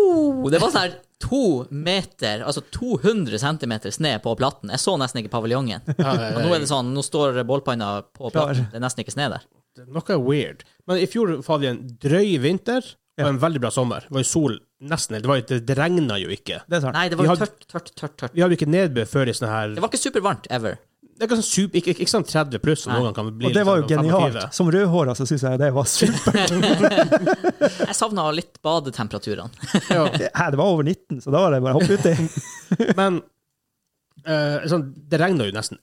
Det var sånn her to meter, altså 200 centimeter sne på platten. Jeg så nesten ikke paviljongen.
ja, ja,
Og
ja.
nå er det sånn, nå står bålpanna på
Klar.
platten. Det er nesten ikke sne der.
Noe er weird. Men i fjor hadde vi en drøy vinter og
Ja.
en veldig bra sommer. Det var jo sol nesten helt. Det, var jo- det regna jo ikke.
Det er sant.
Nei, det
Vi
var jo
hadde-
tørt, tørt, tørt. tørt.
Vi hadde jo ikke nedbør før i sånn her
Det var ikke supervarmt ever.
Det er ikke sånn super, ikke, ikke, ikke sånn 30 pluss som
Nei.
noen gang kan bli.
Og det var jo
liksom
genialt.
25.
Som rødhåra så syns jeg det var
[laughs]
supert.
Jeg savna litt badetemperaturene.
Det, hæ, det var over 19, så da var det bare å
[laughs]
hoppe uti.
Men eh, sånn, det regna jo nesten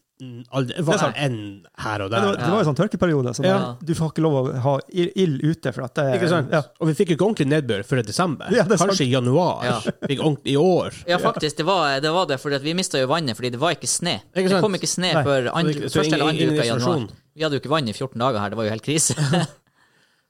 aldri. Det
Det er
var
sant.
enn her og
Men Det, var-
der.
det var jo sånn tørkeperiode, så da,
Ja.
du får ikke lov å ha i- ild ute. For at det,
Ikke sant?
Ja.
Og vi fikk jo ikke ordentlig nedbør før i desember.
Ja, det er sant.
Kanskje i januar.
Ja.
Fikk ordentlig i år.
Ja, faktisk. Det var det, var det fordi at vi mista jo vannet fordi det var ikke sne.
Ikke
det
sant?
kom ikke sne
Nei.
før andre,
Så det- så
første eller andre
ingen-
uka i
ingen
januar.
isolasjon.
Vi hadde jo ikke vann i 14 dager her, det var jo helt krise.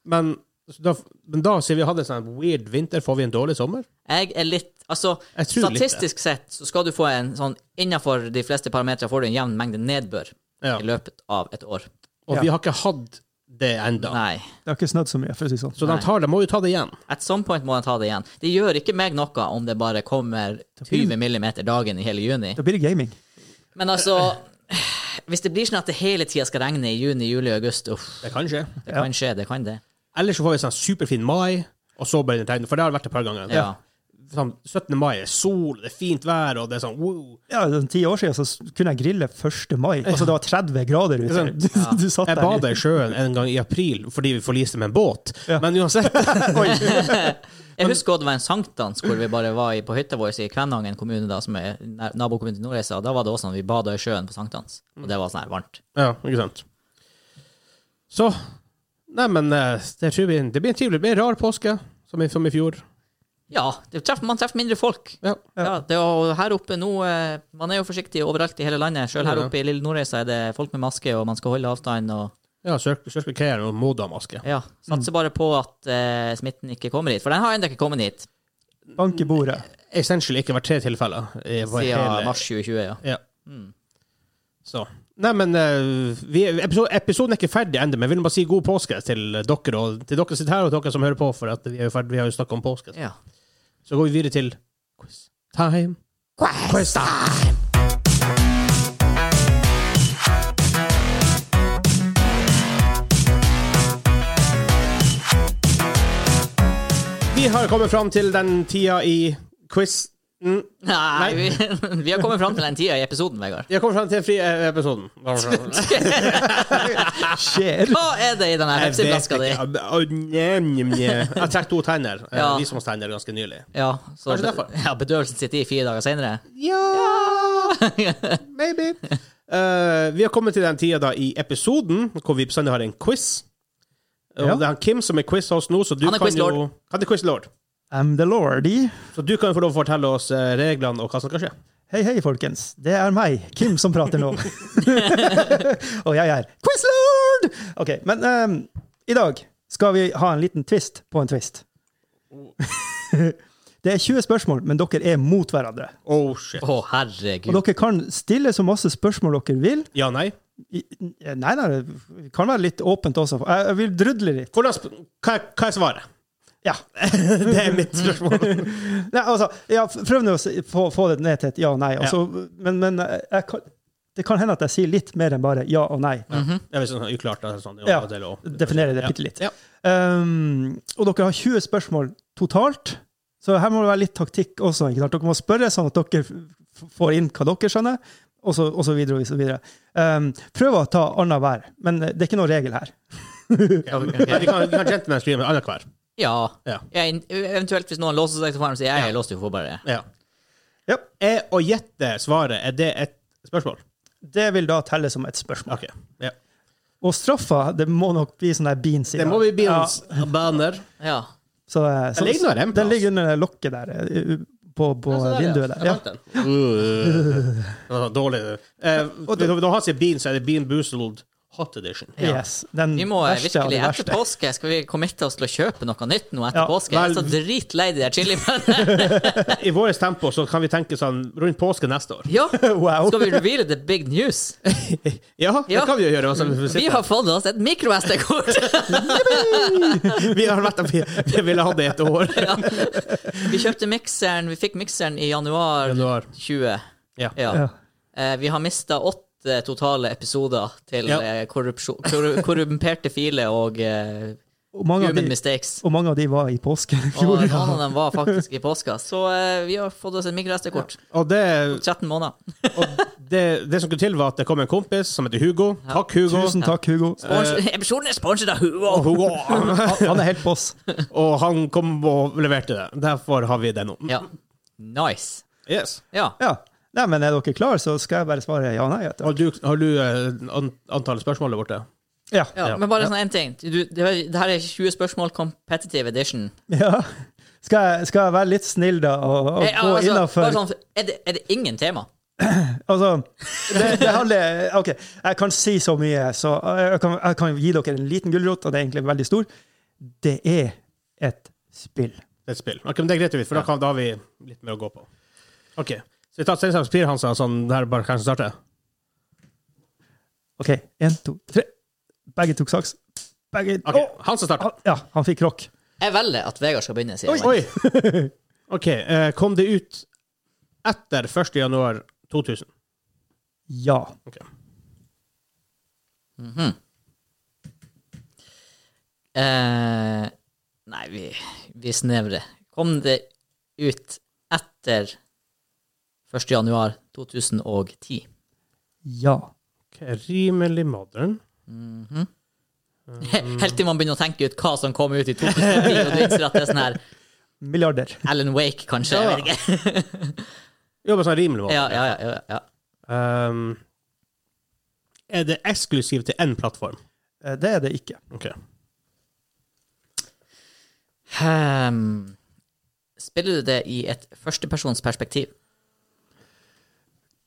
Men så da, men da siden vi hadde en sånn weird vinter, får vi en dårlig sommer?
Jeg er litt Altså,
Jeg tror litt det.
statistisk sett så skal du få en sånn Innenfor de fleste parametere får du en jevn mengde nedbør
Ja.
i løpet av et år.
Og
Ja.
vi har ikke hatt det enda.
Nei.
Det har ikke snødd så mye, for å si det sånn.
Så de,
Nei.
tar, de må jo ta det igjen.
At some point må jeg ta det igjen. Det gjør ikke meg noe om det bare kommer 20 millimeter dagen i hele juni.
Da blir det gaming.
Men altså Hvis det blir sånn at det hele tida skal regne i juni, juli, august, uff,
Det kan skje.
det kan skje, det kan det.
Ellers så får vi sånn superfin mai, og så bare tegn. For det har det vært et par ganger.
Ja.
Sånn 17. mai er sol, det er fint vær, og det er sånn wow.
Ja, sånn Ti år siden så s- kunne jeg grille 1. mai. Altså, det var 30 grader ute.
sant?
Du, [laughs] du satt
Jeg
der.
bada i sjøen en gang i april fordi vi forliste med en båt.
Ja.
Men uansett
Jeg husker også det var en sankthans hvor vi bare var i, på hytta vår i Kvænangen kommune, da, som er nær- nabokommunen til Nordreisa. og Da var det også sånn vi bada i sjøen på sankthans, og det var sånn her varmt.
Ja, ikke sant. Så Neimen, det, tror vi- det blir en trivelig, det blir en rar påske, som i, som i fjor.
Ja, det treffer, man treffer mindre folk.
Ja.
Ja, det, og her oppe nå, eh, Man er jo forsiktig overalt i hele landet. Selv her
Ja.
oppe i lille Nordreisa er det folk med maske, og man skal holde avstand. og
Ja, Circle K og Moda-maske.
ja, Satser bare på at eh, smitten ikke kommer hit, for den har ennå ikke kommet hit
Bank i
[laughs]
bordet.
Essentially ikke vært tre tilfeller. i vår
siden
hele-
mars 2020. ja.
Ja. Så. Neimen, eh, episoden er ikke ferdig ennå, men jeg vil bare si god påske til dere og til dere som sitter her, og dere som hører på, for at vi, er jo ferdig, vi har jo snakket om påske.
ja.
Så går vi videre til quiz time. Quiz time! Vi har kommet fram til den tida i quizen
Nei, vi, [laughs] vi har kommet fram til den tida i episoden, Vegard.
Vi har kommet fram til eh, friepisoden.
Skjer!
Hva er det i denne Pepsi-flaska di?
Jeg trakk to tenner. Eh,
Ja.
Visdomstenner ganske nylig.
Ja, så
Kanskje derfor.
ja, bedøvelsen sitter i fire dager senere.
Ja Maybe. Eh, vi har kommet til den tida da i episoden hvor vi bestandig har en quiz. Og
Ja.
Det er han Kim som er quiz hos nå, så du
Han er
kan
quizlord.
jo Han er quizlord.
I'm the lordy.
Så du kan jo få lov å fortelle oss eh, reglene og hva som skal skje.
Hei, hei, folkens. Det er meg, Kim, som prater nå. og jeg er quizlord! OK, men ehm, i dag skal vi ha en liten twist på en twist. det er 20 spørsmål, men dere er mot hverandre.
Oh shit.
Å, herregud.
Og dere kan stille så masse spørsmål dere vil.
Ja, nei?
I- Nei, nei, det kan være litt åpent også. Jeg, jeg vil drudle litt.
Hvordan, sp- hva, hva er svaret?
Ja.
Det er mitt spørsmål.
Nei, altså, ja, prøv nå å se- få, få det ned til et ja og nei. og så- men men jeg, jeg kan, det kan hende at jeg sier litt mer enn bare ja og nei.
Mhm.
Det er sånn uklart. Det er sånn,
Ja.
av og til, og-
Definere det bitte litt.
Ja.
Um, og dere har 20 spørsmål totalt, så her må det være litt taktikk også. ikke sant? Dere må spørre sånn at dere f- får inn hva dere skjønner, og så, og så videre. Og så videre. Um, prøv å ta annenhver, men det er ikke noen regel her.
Men
Ok.
vi kan, vi kan gentleman streame annenhver.
Ja.
Ja.
Jeg, eventuelt hvis noen låser seg til faren og sier jeg er låst, du får bare
Ja.
Ja.
Er å gjette svaret, er det et spørsmål?
Det vil da telle som et spørsmål.
OK. Ja.
Og straffa, det må nok bli sånn der beans i
Det
dag.
må bli
Ja,
Beans banner.
Ja.
så, eh,
Den
så,
ligger nå en plass.
den ligger under det lokket der, eh, på, på vinduet der. Ja.
Ja. Dårlig. Uh. Eh, når han sier bean, så er det Bean Boozled Hot Edition.
Ja.
Yes, den
Vi må eh,
verste av
virkelig,
de
etter
verste.
påske skal vi committe oss til å kjøpe noe nytt nå etter
Ja,
påske. Jeg er så
vel-
dritlei de der chilibønnene.
I vårt tempo så kan vi tenke sånn rundt påske neste år.
Ja! [laughs]
Wow.
Skal vi reveale the big news?
Ja, det
Ja.
kan vi jo gjøre. Altså, vi,
Vi
sitter-
har fått oss et mikro-SD-kort!
vi har vært vi, vi ville hatt det i et år.
Ja. [laughs] Vi kjøpte mikseren, vi fikk mikseren i januar
Januar.
20.
Ja.
Ja.
Eh, Vi har mista åtte totale episoder til
Ja.
eh, korrupsjon, korru- [laughs] korrumperte filer og eh,
Og mange av
human
de [laughs]
mistakes.
Og mange av de var i påsken i
Og
fjor.
noen av dem var faktisk i påska. Så eh, vi har fått oss et mikro-SD-kort.
Og, det,
13 måneder.
og det, det som skulle til, var at det kom en kompis som heter Hugo. Takk, Hugo.
Tusen takk, Hugo.
Spons- Episoden er sponset av Hugo!
Hugo.
Han, han er helt boss.
Og han kom og leverte det. Derfor har vi det nå.
Ja. Nice.
Yes.
Ja.
[laughs] Ja. Nei, men er dere klare, så skal jeg bare svare ja nei. Etter.
Har du, har du eh, an- antallet spørsmål der borte?
Ja.
Ja,
Ja.
men bare sånn en ting. Du, det, var- det her er 20 spørsmål competitive edition.
ja. Skal, jeg, skal jeg være litt snill, da, og, og
Eh,
gå
altså,
innafor
bare sånn, er, det, er det ingen tema?
Altså, det, det handler OK, jeg kan si så mye, så jeg kan, jeg kan gi dere en liten gulrot, og det er egentlig veldig stor. Det er et spill.
Det er et spill. Ok, men det er greit, for da, kan, da har vi litt mer å gå på. OK. Så vi tar Steinsheim Spir, Hansa, sånn der bare kanskje starter?
OK, én, to, tre. Begge tok saks. Begge
OK,
Å!
Hansa starter.
han, ja, han fikk rock.
Jeg velger at Vegard skal begynne, sier
Oi! [laughs]
jeg.
OK. eh, kom det ut etter 1. januar 2000?
Ja.
Ok.
Eh, nei, vi, vi snevrer. Kom det ut etter 1. januar 2010?
Ja.
Ok, Rimelig modern.
[laughs] Helt til man begynner å tenke ut hva som kom ut i 2010, og du innser at det er sånn her
Milliarder.
Alan Wake, kanskje.
Ja.
Jeg vet ikke.
Jobber sånn rimelig modern.
Ja, ja, ja, ja, ja.
Um, er det eksklusivt til én
[laughs]
plattform?
Eh, Det er det ikke.
OK.
Hmm. spiller du det i et førstepersonsperspektiv?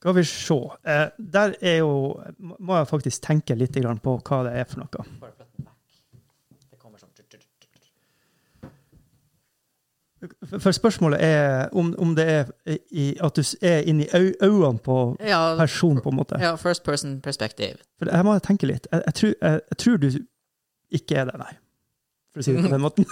Skal vi se. Eh, der er jo Må jeg faktisk tenke litt grann på hva det er for noe. For- For spørsmålet er om, om det er i, at du s- er inni au- øynene på
Ja,
personen, på en måte.
ja first person perspektiv.
For her må jeg tenke litt. Jeg, jeg, tror, jeg, jeg tror du ikke er det, nei. For å si det på den måten.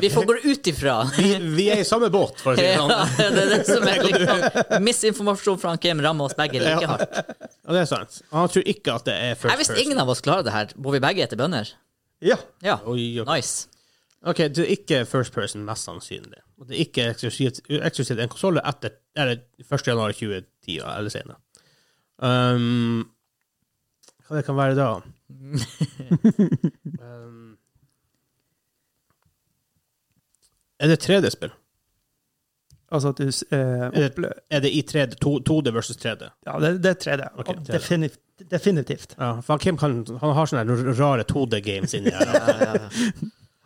Vi får gå ut [laughs] ifra
Vi, vi er i samme båt, for å si det sånn.
Ja, [laughs] det er det som er liksom, misinformasjon fra Kim rammer oss begge like hardt.
Ja, det er sant. Han tror ikke at det er first
Jeg visste ingen av oss klarer det her. Bor vi begge etter bønder?
Ja.
Ja.
Oi, ok.
Nice.
OK, det er ikke first person, mest sannsynlig. Og det er ikke eksklusivt eksklusivt en konsoll etter eller 1. januar 2010 eller senere. Um, hva det kan være
[laughs]
da? um, er det 3D-spill?
Altså at du s- eh,
Er det-
opple-
Er det i 3D? to- 2D versus 3D?
Ja, det, det er 3D.
Ok, 3D.
Definitivt. definitivt.
Ja, for han Kim kan, han har sånne her rare 2D-games inni
[laughs]
her.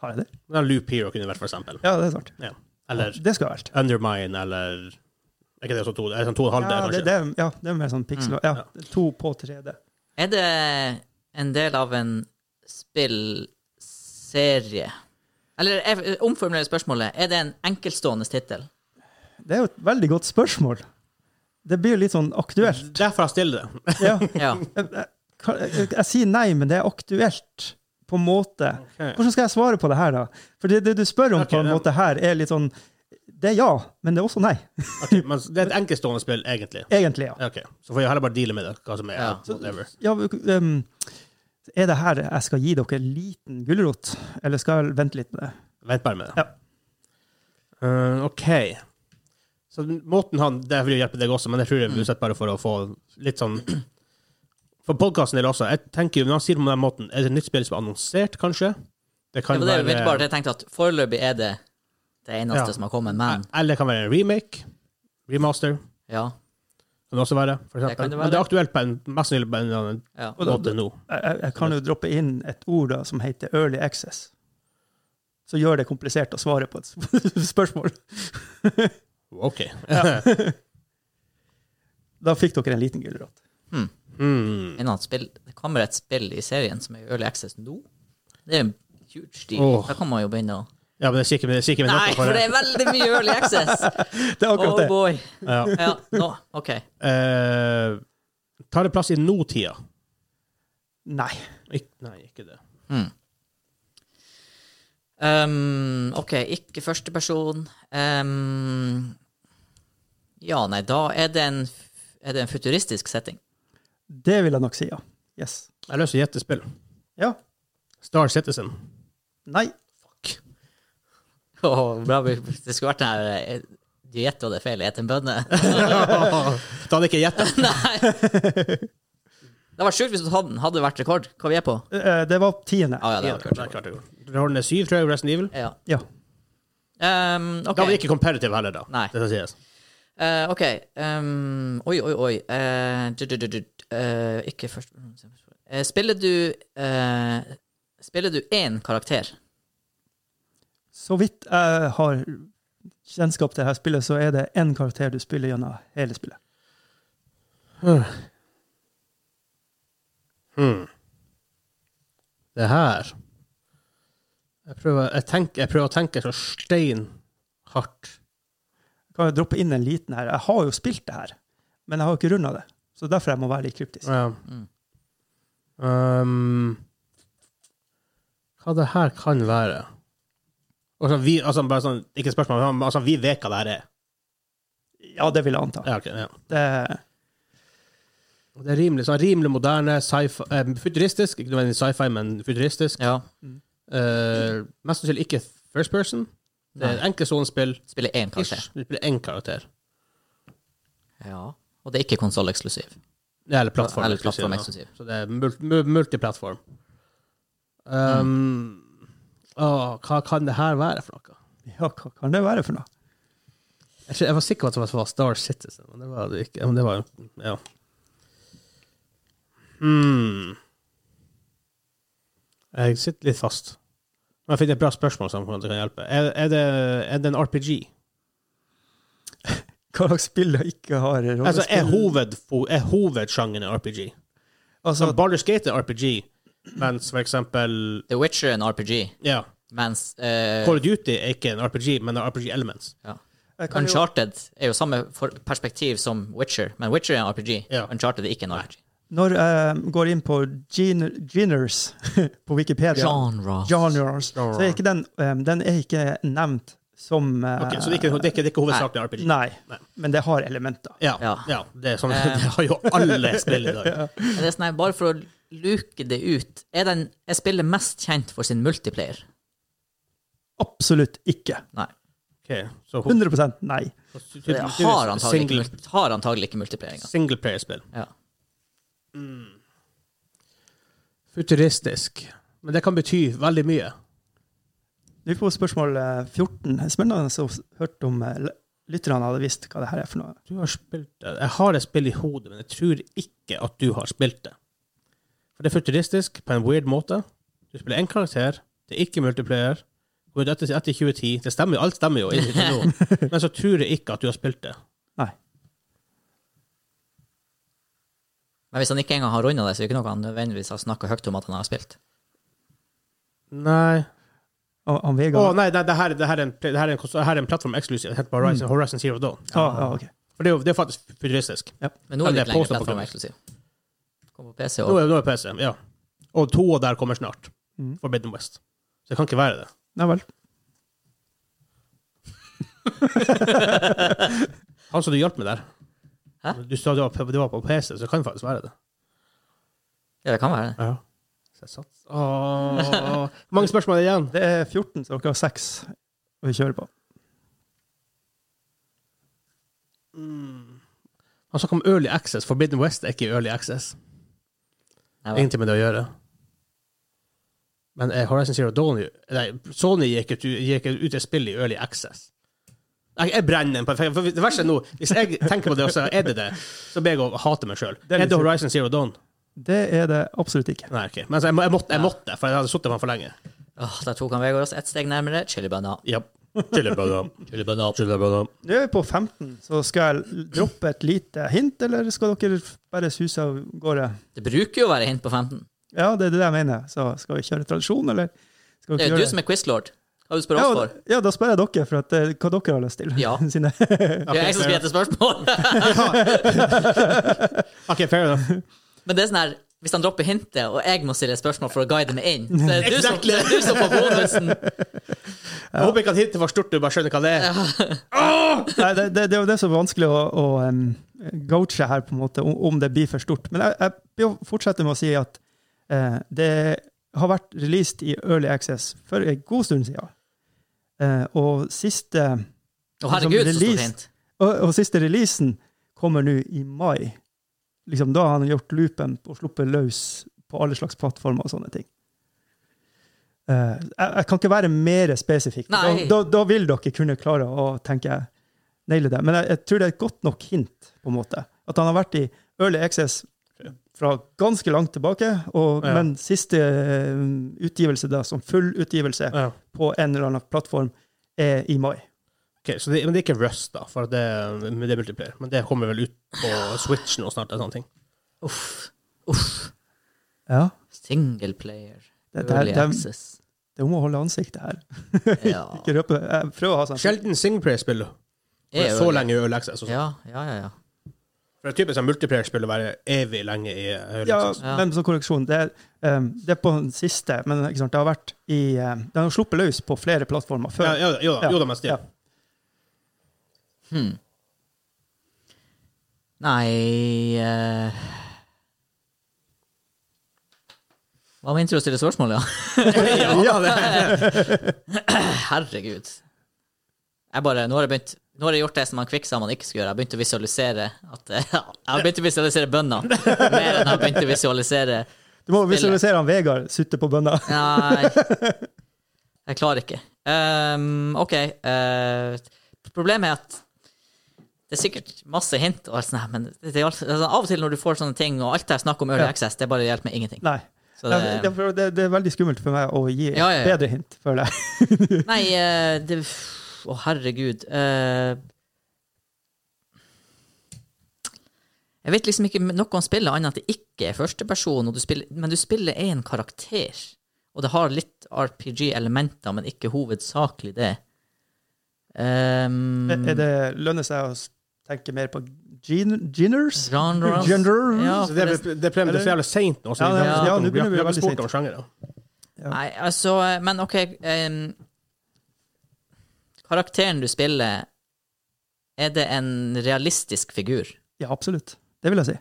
Har jeg det?
Den har Loop Hero kunne vært, for eksempel.
Ja, det er sant.
Ja. Eller
Det skal være alt.
Undermine, eller Er ikke det sånn 2D? Er det sånn 2,5D,
Ja,
kanskje? Mm.
det, det, er- ja, det er mer sånn pixel. Ja, to på 3D.
Er det en del av en spillserie? Eller jeg omformulerer spørsmålet. Er det en enkeltstående tittel?
Det er jo et veldig godt spørsmål. Det blir litt sånn
[laughs]
aktuelt.
Derfor jeg stiller det.
Ja.
Ja.
Jeg, jeg, jeg, jeg sier nei, men det er aktuelt på en måte.
Ok.
Hvordan skal jeg svare på det her, da? For det, det du spør om
Ok,
på en
ja.
måte her, er litt sånn Det er ja, men det er også nei.
Ok, men det er et enkeltstående spill, egentlig.
Egentlig, ja.
Ok, Så får jeg heller bare deale med det, hva som er
Ja.
whatever.
ja um, er det her jeg skal gi dere en liten gulrot, eller skal jeg vente litt med det?
Vent bare med det.
Ja.
Eh, OK. Så måten han Det vil jo hjelpe deg også, men jeg tror det er
Mm.
uansett bare for å få litt sånn For podkasten del også. Jeg tenker jo, Når han sier det på den måten, er det et nytt spill som er annonsert, kanskje? Det
Det
kan
var det jeg mente bare.
være
at Jeg tenkte at foreløpig er det det eneste
Ja.
som har kommet, men
Eller det kan være en remake. Remaster.
ja.
Kan det også være. For
Det kan
eksempel.
det
Men det
være.
er aktuelt på en mest sannsynlig på en eller annen
ja.
Og da-
måte nå.
Jeg, jeg- jeg kan jo droppe inn et ord da, som heter early access. Så gjør det komplisert å svare på et sp- [laughs] spørsmål.
OK.
Da fikk dere en liten gulrot.
[laughs] Mm.
Innan spill, det kommer et spill i serien som er i Early Access nå. Det er en huge deal.
Åh.
Da kan man jo begynne å
Ja, men det er sikkert det er sikkert med
Nei,
noe
for det er veldig mye Early
[laughs]
Access!
Det er akkurat
Oh
det.
boy.
Ja.
Ja, nå, OK.
Eh, tar det plass i nåtida?
Nei.
Ik nei, ikke det.
Mm. Um, OK, ikke førsteperson. Um, ja, nei, da er det en, er det en futuristisk setting.
Det vil jeg nok si, ja. Yes.
Jeg løser gjettespill.
Ja.
Star Citizen.
[laughs]
Nei.
[laughs] Åh, bra, [laughs] det skulle vært den her eh, Du gjetter hva det er feil, et en [laughs] bønne.
Da hadde jeg ikke gjettet.
Nei. Det hadde vært sjukt hvis du hadde den. Hadde det vært rekord? Hva vi er på?
Eh, Det var tiende.
Ah, ja, det
Ja,
hadde vært
det er klart det går. Vi har den i syv, tror jeg, Resident Evil.
rekord. Ja.
Ja.
Um,
Da
ok.
var det ikke competitive heller, da.
Nei.
Det skal sies.
Eh, ok. Um, oi, oi, oi. Eh, du, du, du, du, eh, ikke først Eh, Spiller du eh, Spiller du én karakter?
Så vidt jeg har kjennskap til dette spillet, så er det én karakter du spiller gjennom hele spillet.
Hmm. Det her jeg prøver, jeg, tenker, jeg prøver å tenke så steinhardt.
Kan jeg droppe inn en liten her? Jeg har jo spilt det her, men jeg har jo ikke runda det. Så derfor jeg må være litt kryptisk.
Ja.
Mm.
Um, hva det her kan være Og så vi, altså, bare sånn, Ikke spørsmål, men altså, vi vet hva det her er.
Ja, det vil jeg anta.
Ja, ok, ja.
Det,
Det er rimelig, sånn, rimelig moderne, sci-fi, eh, futuristisk. Ikke nødvendigvis sci-fi, men futuristisk.
Ja.
Eh, mest sannsynlig ikke first person. Det er et enkeltsonespill.
Spiller én karakter.
Ish. Du spiller én karakter.
Ja. Og det er ikke konsolleksklusiv.
Ja, Eller plattform.
Eller
eksklusiv,
plattform
ja.
eksklusiv.
Så det er mul- mu- multiplattform.
Mm.
Um, åh, hva kan det her være for noe?
ja, hva kan det være for noe?
Jeg, tror, jeg var sikker på at det var Star Citizen, men det var det ikke. Men det var, ja. Hmm. Jeg sitter litt fast. Men jeg fikk et bra spørsmål som kanskje kan hjelpe. Er, er, det, er det en RPG?
Hva slags spill jeg ikke har rollespill?
Altså, er, hoved, er hovedsjangeren en RPG?
Altså,
Så Baldur's Gate er RPG, mens for eksempel
The Witcher er en RPG,
Ja,
mens eh,
Call of Duty er ikke en RPG, men har RPG Elements.
ja.
jeg kan jo,
Uncharted er jo samme for perspektiv som Witcher, men Witcher er en RPG.
Ja.
Uncharted er ikke en RPG.
når jeg går inn på gen- genres [laughs] på Wikipedia
Genre.
Genres. Så er ikke den, um, den er ikke nevnt som uh,
Ok, så det er ikke, det er ikke, det er ikke hovedsakelig RPG?
Nei,
Nei.
men det har elementer.
Ja, ja.
Ja.
det, er sånn,
Eh.
[laughs] det har jo alle spill i dag.
Men Det er sånn her, bare for å luke det ut Er, den, er spillet mest kjent for sin multiplayer?
Absolutt ikke.
Nei.
Ok, så ho-
100 nei.
så
Det
tydeligvis
har antagelig ikke,
single-
mul- har antagelig ikke multiplayer engang.
Singleplayerspill.
Ja.
Mm. Futuristisk. Men det kan bety veldig mye.
Vi får spørsmål eh, 14. Spennende å s- hørt om eh, l- lytterne hadde visst hva det her er for noe.
Du har spilt det. Jeg har et spill i hodet, men jeg tror ikke at du har spilt det. For det er futuristisk på en weird måte. Du spiller én karakter, det er ikke multiplayer. Går ut etter, etter 2010. Det stemmer jo, alt stemmer
[laughs]
jo. inn til nå. Men så tror jeg ikke at du har spilt det.
Nei.
Men hvis han ikke engang har runda det, så er det ikke noe han nødvendigvis har snakka høyt om at han har spilt.
Nei.
Og, og
Å
Vegard
Mm. nei, nei det, her, det, her er en, pl- det her er en, konsol- det her er en plattform eksklusiv. Det heter bare Horizon, Horizon Zero Dawn.
ah, ja, ok.
For det er jo det er faktisk futuristisk.
Men nå
Eller
er det litt lengre
påstå på
plattform
Chrome.
eksklusiv. Kom på PC
Nå
og
er nå er PC, ja. Og to av der kommer snart.
Mm.
Forbidden West. Så det kan ikke være det.
Nei vel.
Han som Altså, du hjalp med der.
Hæ?
Du sa det var, på- det var på PC, så det kan faktisk være det.
Ja, det kan være det.
Ja. Så jeg satt. Åh. Hvor mange spørsmål er det igjen?
Det er 14, så dere har 6 å kjøre på.
Han snakket om Early Access. Forbidden West er ikke Early Access.
Nei, vel.
Ingenting med det å gjøre. Men eh, Horizon Zero Dawn nei, Sony gikk ut, gikk ut et spill i Early Access. Jeg, jeg brenner den på for- for Det verste er nå, hvis jeg tenker på det, og så er det det, så ber jeg å hate meg sjøl.
er
Er
litt
det Horizon Zero Dawn?
Det er det absolutt ikke.
Nei, ok. Men altså, jeg, må- jeg, måtte, jeg måtte, for jeg hadde sittet med den for lenge.
Åh, der tok han Vegard oss ett steg nærmere. Chili banan.
Ja. [laughs] Chilibanan. Chilibanan. Chilibanan.
Nå er vi på 15, så skal jeg droppe et lite hint, eller skal dere bare suse av gårde?
Det bruker jo å være hint på 15.
Ja, det er det jeg mener. Så skal vi kjøre tradisjon, eller? Skal
Det er jo du som er quizlord. Hva du spør
ja,
oss
og-
for?
ja, da spør jeg dere for at, eh, hva dere har lyst til. [laughs]
Ja.
Siden-
Det er jeg som skal gjette spørsmål. [laughs]
OK, fair enough.
Men det er sånn her hvis han dropper hintet, og jeg må stille et spørsmål for å guide meg inn, så er det du som, det er du som får bonusen.
Jeg håper ikke at hintet var stort, du bare skjønner hva det er.
Nei, det, det, det er jo det som er vanskelig å, å em, gauge her, på en måte, om, om det blir for stort. Men jeg, jeg vil jo fortsette med å si at eh, det har vært released i Early Access for en god stund siden. Eh, og, siste,
Å, herregud, så
Release.
stort hint.
og, og siste releasen kommer nå i mai. Liksom, da har han gjort loopen og sluppet løs på alle slags plattformer og sånne ting. Eh, jeg, jeg kan ikke være mer spesifikk. Da,
Nei.
da, da vil dere kunne klare å tenke naile det. Men jeg, jeg tror det er et godt nok hint, på en måte. At han har vært i early access fra ganske langt tilbake, og,
Ja.
men siste eh, utgivelse da, som full utgivelse
Ja.
på en eller annen plattform, er i mai.
Ok, så det, men det er ikke Rust, da, for det, det er multiplayer. Men det kommer vel ut på Switch nå snart. eller sånne ting.
Uff. Uff.
Ja.
Single player.
Det, det,
Early
det, det,
access.
er om å holde ansiktet her.
[laughs]
Ja.
Ikke røpe. Jeg prøver å ha sånn.
Sjelden singleplayer-spill.
Er jo
Så
det.
lenge i Early Access. og sånt.
Ja, ja, ja. ja.
For det er typisk at multiplayer-spill å være evig lenge i eh, liksom. Early
Ja,
Access.
Ja.
men så korreksjon. Det, er, um, det er på den siste, men ikke sant, det har vært i um, Den har sluppet løs på flere plattformer
Ja,
før.
jo, jo, da,
Ja.
jo da, men still.
Ja.
Hmm. Nei eh. Hva med intro å stille spørsmål, ja?
[laughs] Ja, det
Herregud. Jeg bare, nå har jeg begynt Nå har jeg gjort det som han Kvikk sa man ikke skulle gjøre. Jeg begynte å visualisere at [laughs] Jeg har begynt å visualisere bønder. Mer enn jeg har begynt å visualisere
Du må visualisere han Vegard sutte på bønna. [laughs]
Nei. Jeg klarer ikke. Ehm, OK. eh, problemet er at det er sikkert masse hint, og alt sånt, her, men det er alt, altså, av og til når du får sånne ting, og alt det her snakk om early
Ja.
access, det bare hjelper meg ingenting.
Nei.
Så
Det,
det,
det, det, det er veldig skummelt for meg å gi et
Ja, ja, ja.
bedre hint, føler jeg.
nei, eh, det Å, herregud. Eh, jeg vet liksom ikke noe om spillet, annet at det ikke er førsteperson, og du spiller- men du spiller én karakter. Og det har litt RPG-elementer, men ikke hovedsakelig det. Um,
Er det lønner seg å s- tenke mer på gen, geners?
Genres?
Genres?
Ja,
Så det,
forresten.
er- det er problemet det er så jævlig seint nå. så
Ja,
vi
det-
har ikke
ja,
snakket om-
nå begynner vi
vi har
veldig
ikke spurt om sjangere.
Nei, altså Men OK. em, karakteren du spiller, er det en realistisk figur?
Ja, absolutt. Det vil jeg si.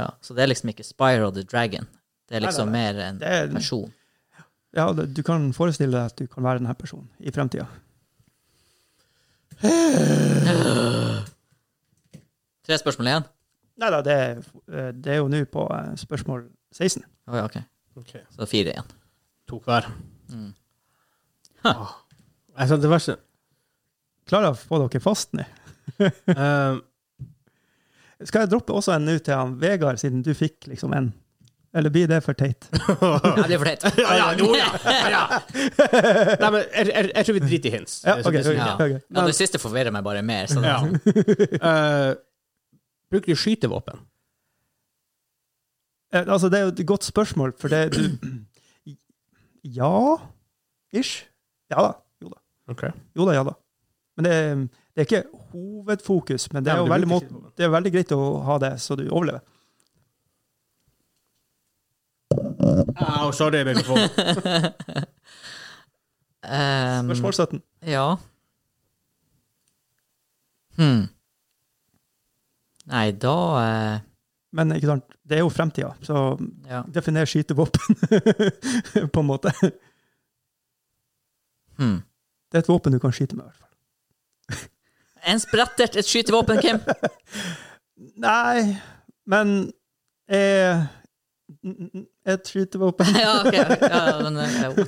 Ja, så det er liksom ikke Spyro the Dragon. Det er
Nei,
liksom
nei,
mer en
Det er,
person.
ja, det- du kan forestille deg at du kan være denne personen i fremtida.
Tre spørsmål igjen?
Nei da, det, er- det er jo nå på eh, spørsmål 16.
Å ja, ok.
Ok.
Så fire
[laughs]
igjen.
To hver.
Mm. Ha.
Åh. Altså, det verste
Klarer jeg å få dere fast nå?
[laughs]
eh,
Skal jeg droppe også en nå til han Vegard, siden du fikk liksom en? Eller blir det for teit?
Jeg blir for teit. [laughs]
Ja, ja, jo, ja.
[laughs]
ja, ja. Nei, men jeg, jeg, jeg tror vi driter i hints.
Ja,
Det er
ok.
så- det er så-
ok,
Ja.
ok.
[laughs] Ja, det siste forvirrer meg bare mer. Så
Ja. Eh, bruker du skytevåpen?
Eh, Altså, det er jo et godt spørsmål, for det du Ja ish. Ja da. Jo da.
Ok.
Jo da, ja da. Men det, Det er ikke hovedfokus, men det er
Nei, men
jo
du
veldig,
bruker
må- det er veldig greit å ha det så du overlever.
Au, sorry,
[laughs]
mikrofon. Mm.
Ehm,
Spørsmål 17.
ja. Hm. Nei, da eh,
Men ikke sant, det er jo fremtida, så
Ja.
definer skytevåpen, [laughs] på en måte.
Hm.
Det er et våpen du kan skyte med, i hvert fall.
En sprettert, et skytevåpen, Kim.
Nei, men eh, n- n- Et skytevåpen
[laughs] ja, ok. Ja, men, eh, jo.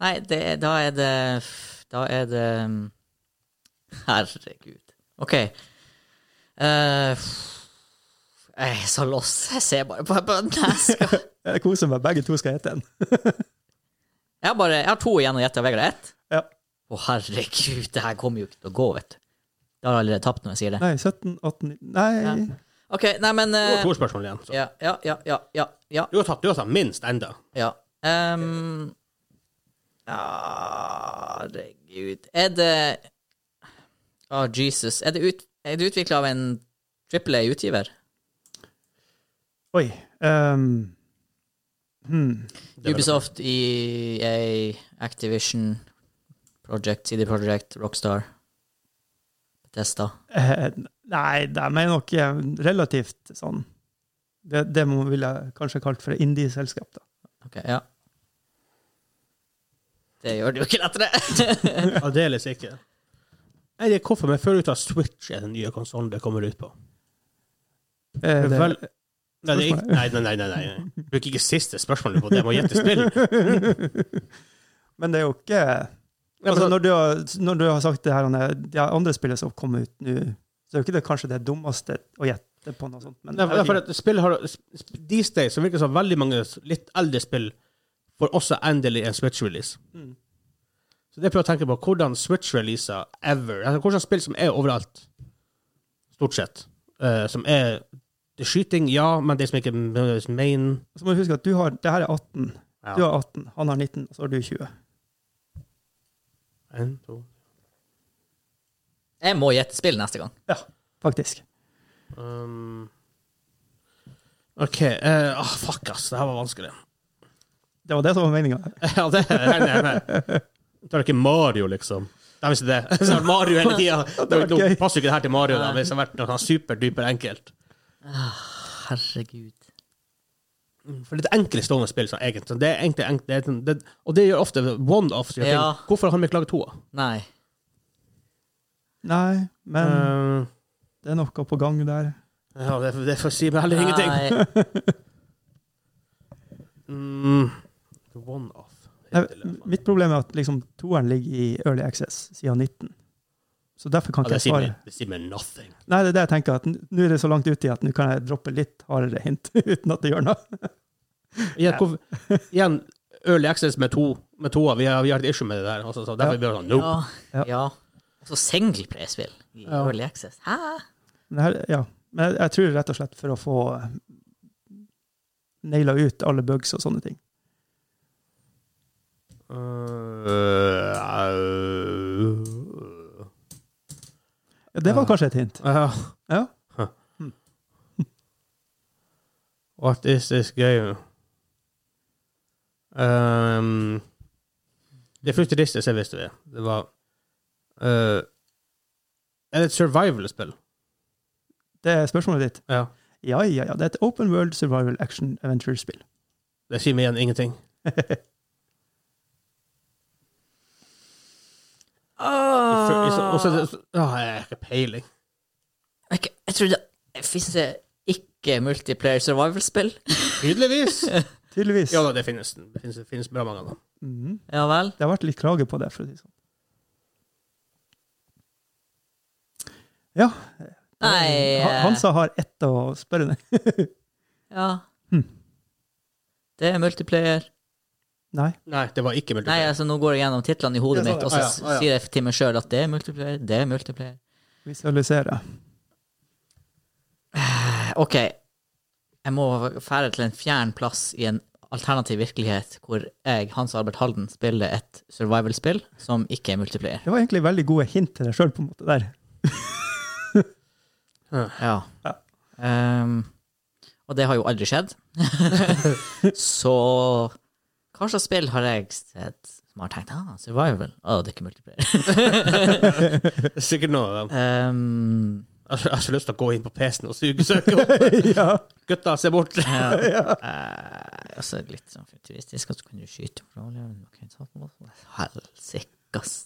Nei, det, er- da er det Da er det mm, Herregud. OK. Eh, jeg er så lost. Jeg ser bare på, på neska.
Jeg koser meg. Begge to skal hete en.
Jeg har, bare, jeg har to igjen å gjette, og Vegard har ett.
Ja.
Å, herregud, det her kommer jo ikke til å gå, vet du. Da har jeg allerede tapt når jeg sier det.
Nei, 17, 18 19. Nei.
Ja. OK, nei, men
Det var
eh,
to spørsmål igjen. Så.
Ja, ja, ja, ja, ja. ja.
Du har tatt, du har tatt minst enda.
Ja. Um, Herregud. Er det Å, Jesus. Er det, ut, er det utvikla av en trippel A-utgiver?
Oi. ehm, hmm.
vel
Ubisoft, EA, Activision, Project, CD Project, Rockstar, Testa.
Eh, nei, de er nok eh, relativt sånn Det, det må- ville jeg kanskje kalt for indie-selskap, da.
Ok, ja. Det gjør det jo ikke lettere.
Aldeles ikke. Jeg vet hvorfor, men jeg føler ut at Switch er den nye konsollen det kommer ut på.
Eh, det,
Vel- Nei, det er ikke, nei, nei, nei, nei, nei. Bruk ikke siste spørsmålet på det. Jeg må gjette [laughs] spill.
[laughs] men det er jo ikke altså, når, du har, når du har sagt det her, Anne, de her andre spillet som kom ut nå, så er jo ikke det kanskje det dummeste å gjette på noe sånt. Men
Nei,
jeg vet
for
ikke.
at spill har sp- These days så virker det som veldig mange litt eldre spill får også endelig en Switch-release.
Mm.
Så det prøver jeg å tenke på hvordan Switch-releaser ever altså Hvordan spill som er overalt, stort sett, eh, som er det er skyting, ja, men det som ikke er nødvendigvis main
Så må du huske at du har, det her er 18.
ja.
Du har 18, han har 19, og så har du 20.
En, to,
Jeg må gjette spill neste gang.
Faktisk.
um, OK. eh, ah, fuck, ass. Det her var vanskelig. [laughs]
Det var det som var meninga.
Ja, det regner jeg med. Tar ikke Mario, liksom. Det er visst det. [laughs] Så har det vært Mario hele tida. Nå
gøy.
passer jo ikke det her til Mario, da, hvis det har vært noe sånn superduper enkelt.
Herregud.
For det er et enkeltstående spill, sånn, egentlig. Det er egentlig enkelt, det er, sånn- det, og det gjør ofte one-offs. gjør ting.
Ja.
Hvorfor har vi ikke laget to?
Nei.
Nei, men
Uh,
det er noe på gang der.
Eh, ja, det, det får si meg heller ingenting. [laughs]
Nei.
Mm. One-off.
Nei, mitt problem er at liksom, toeren ligger i Early Access siden 19. Så derfor kan
Ja,
ikke
det,
jeg
sier
svare.
meg, det sier meg nothing.
Nei, det er det jeg tenker, at n- nå er det så langt uti at nå kan jeg droppe litt hardere hint [laughs] uten at det gjør noe.
Igjen, hvor, igjen early access med to. Med toa. Vi, har, vi har et issue med det der. Altså, så derfor
Ja.
blir det sånn nope.
Ja.
Ja. ja. Og så singleplay-spill i
Ja.
Early Access. Hæ?
Men, her, ja. Men jeg, jeg tror rett og slett for å få naila ut alle bugs og sånne ting.
Øh, Uh, uh,
Ja, det var
Ja.
kanskje et hint.
Ja. Hm.
Ja.
Huh. [laughs] What is this game? Um, det futuristisk jeg visste det. Det var uh, Er det et survival-spill?
Det er spørsmålet ditt.
Ja.
Ja, ja, ja. Det er et open world survival action adventure-spill.
Det sier meg igjen ingenting. I fir- i så- og så er det- Åh, jeg har ikke peiling.
Jeg, jeg tror det Fins det ikke multiplayer survival-spill?
Tydeligvis.
Tydeligvis.
ja da, det finnes, det finnes, det finnes bra mange av dem.
Mhm.
Ja vel?
Det har vært litt klage på det, for å si det sånn. Ja.
Nei
Ha-
eh,
Hansa har ett å spørre ned. [laughs]
Ja.
Hm.
Det er multiplayer.
Nei.
Nei, det var ikke
Nei,
multiplayer.
altså nå går jeg gjennom titlene i hodet
Ja, sånn,
mitt, og så
ja, ja, ja.
sier jeg til meg sjøl at det er multiplayer, det er multiplayer.
Visualisere.
Eh, OK. Jeg må fære til en fjern plass i en alternativ virkelighet hvor jeg, Hans Albert Halden, spiller et survival-spill som ikke er multiplayer.
Det var egentlig veldig gode hint til deg sjøl, på en måte, der.
Ja.
Ja.
Ehm, og det har jo aldri skjedd. så hva slags spill har jeg sett som har tenkt ah, survival? Å, det er ikke multiplayer.
[laughs] Sikkert noe av dem.
Ehm,
Jeg har- jeg har så lyst til å gå inn på PC-en og suge søket opp.
ja.
Gutta, se bort!
ja. Eh, også litt sånn futuristisk, at du kan jo skyte på rollejern, du kan ta på måten. Helsikas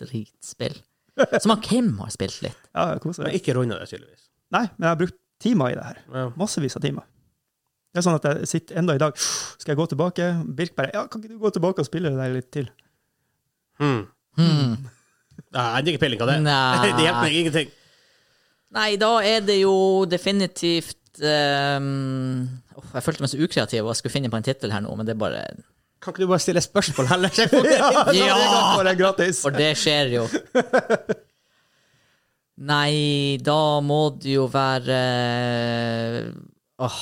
dritspill. Som han Kim har spilt litt.
ja kos
Men
deg.
ikke runda det, tydeligvis.
Nei, men jeg har brukt timer i det her.
Ja.
Massevis av timer. Det er sånn at jeg sitter enda i dag Skal jeg gå tilbake? Birk bare Ja, kan ikke du gå tilbake og spille det der litt til?
Hmm.
Hmm.
Nei, Jeg hadde ikke peiling på det.
Nei.
[laughs] Det hjelper meg ingenting.
Nei, da er det jo definitivt ehm, åh, Jeg følte meg så ukreativ og jeg skulle finne på en tittel her nå, men det er bare
Kan ikke du bare stille spørsmål heller? Sjekk [laughs] om Altså, det er
Ja!
Bare gratis.
For det skjer jo. Nei, da må det jo være eh, Åh.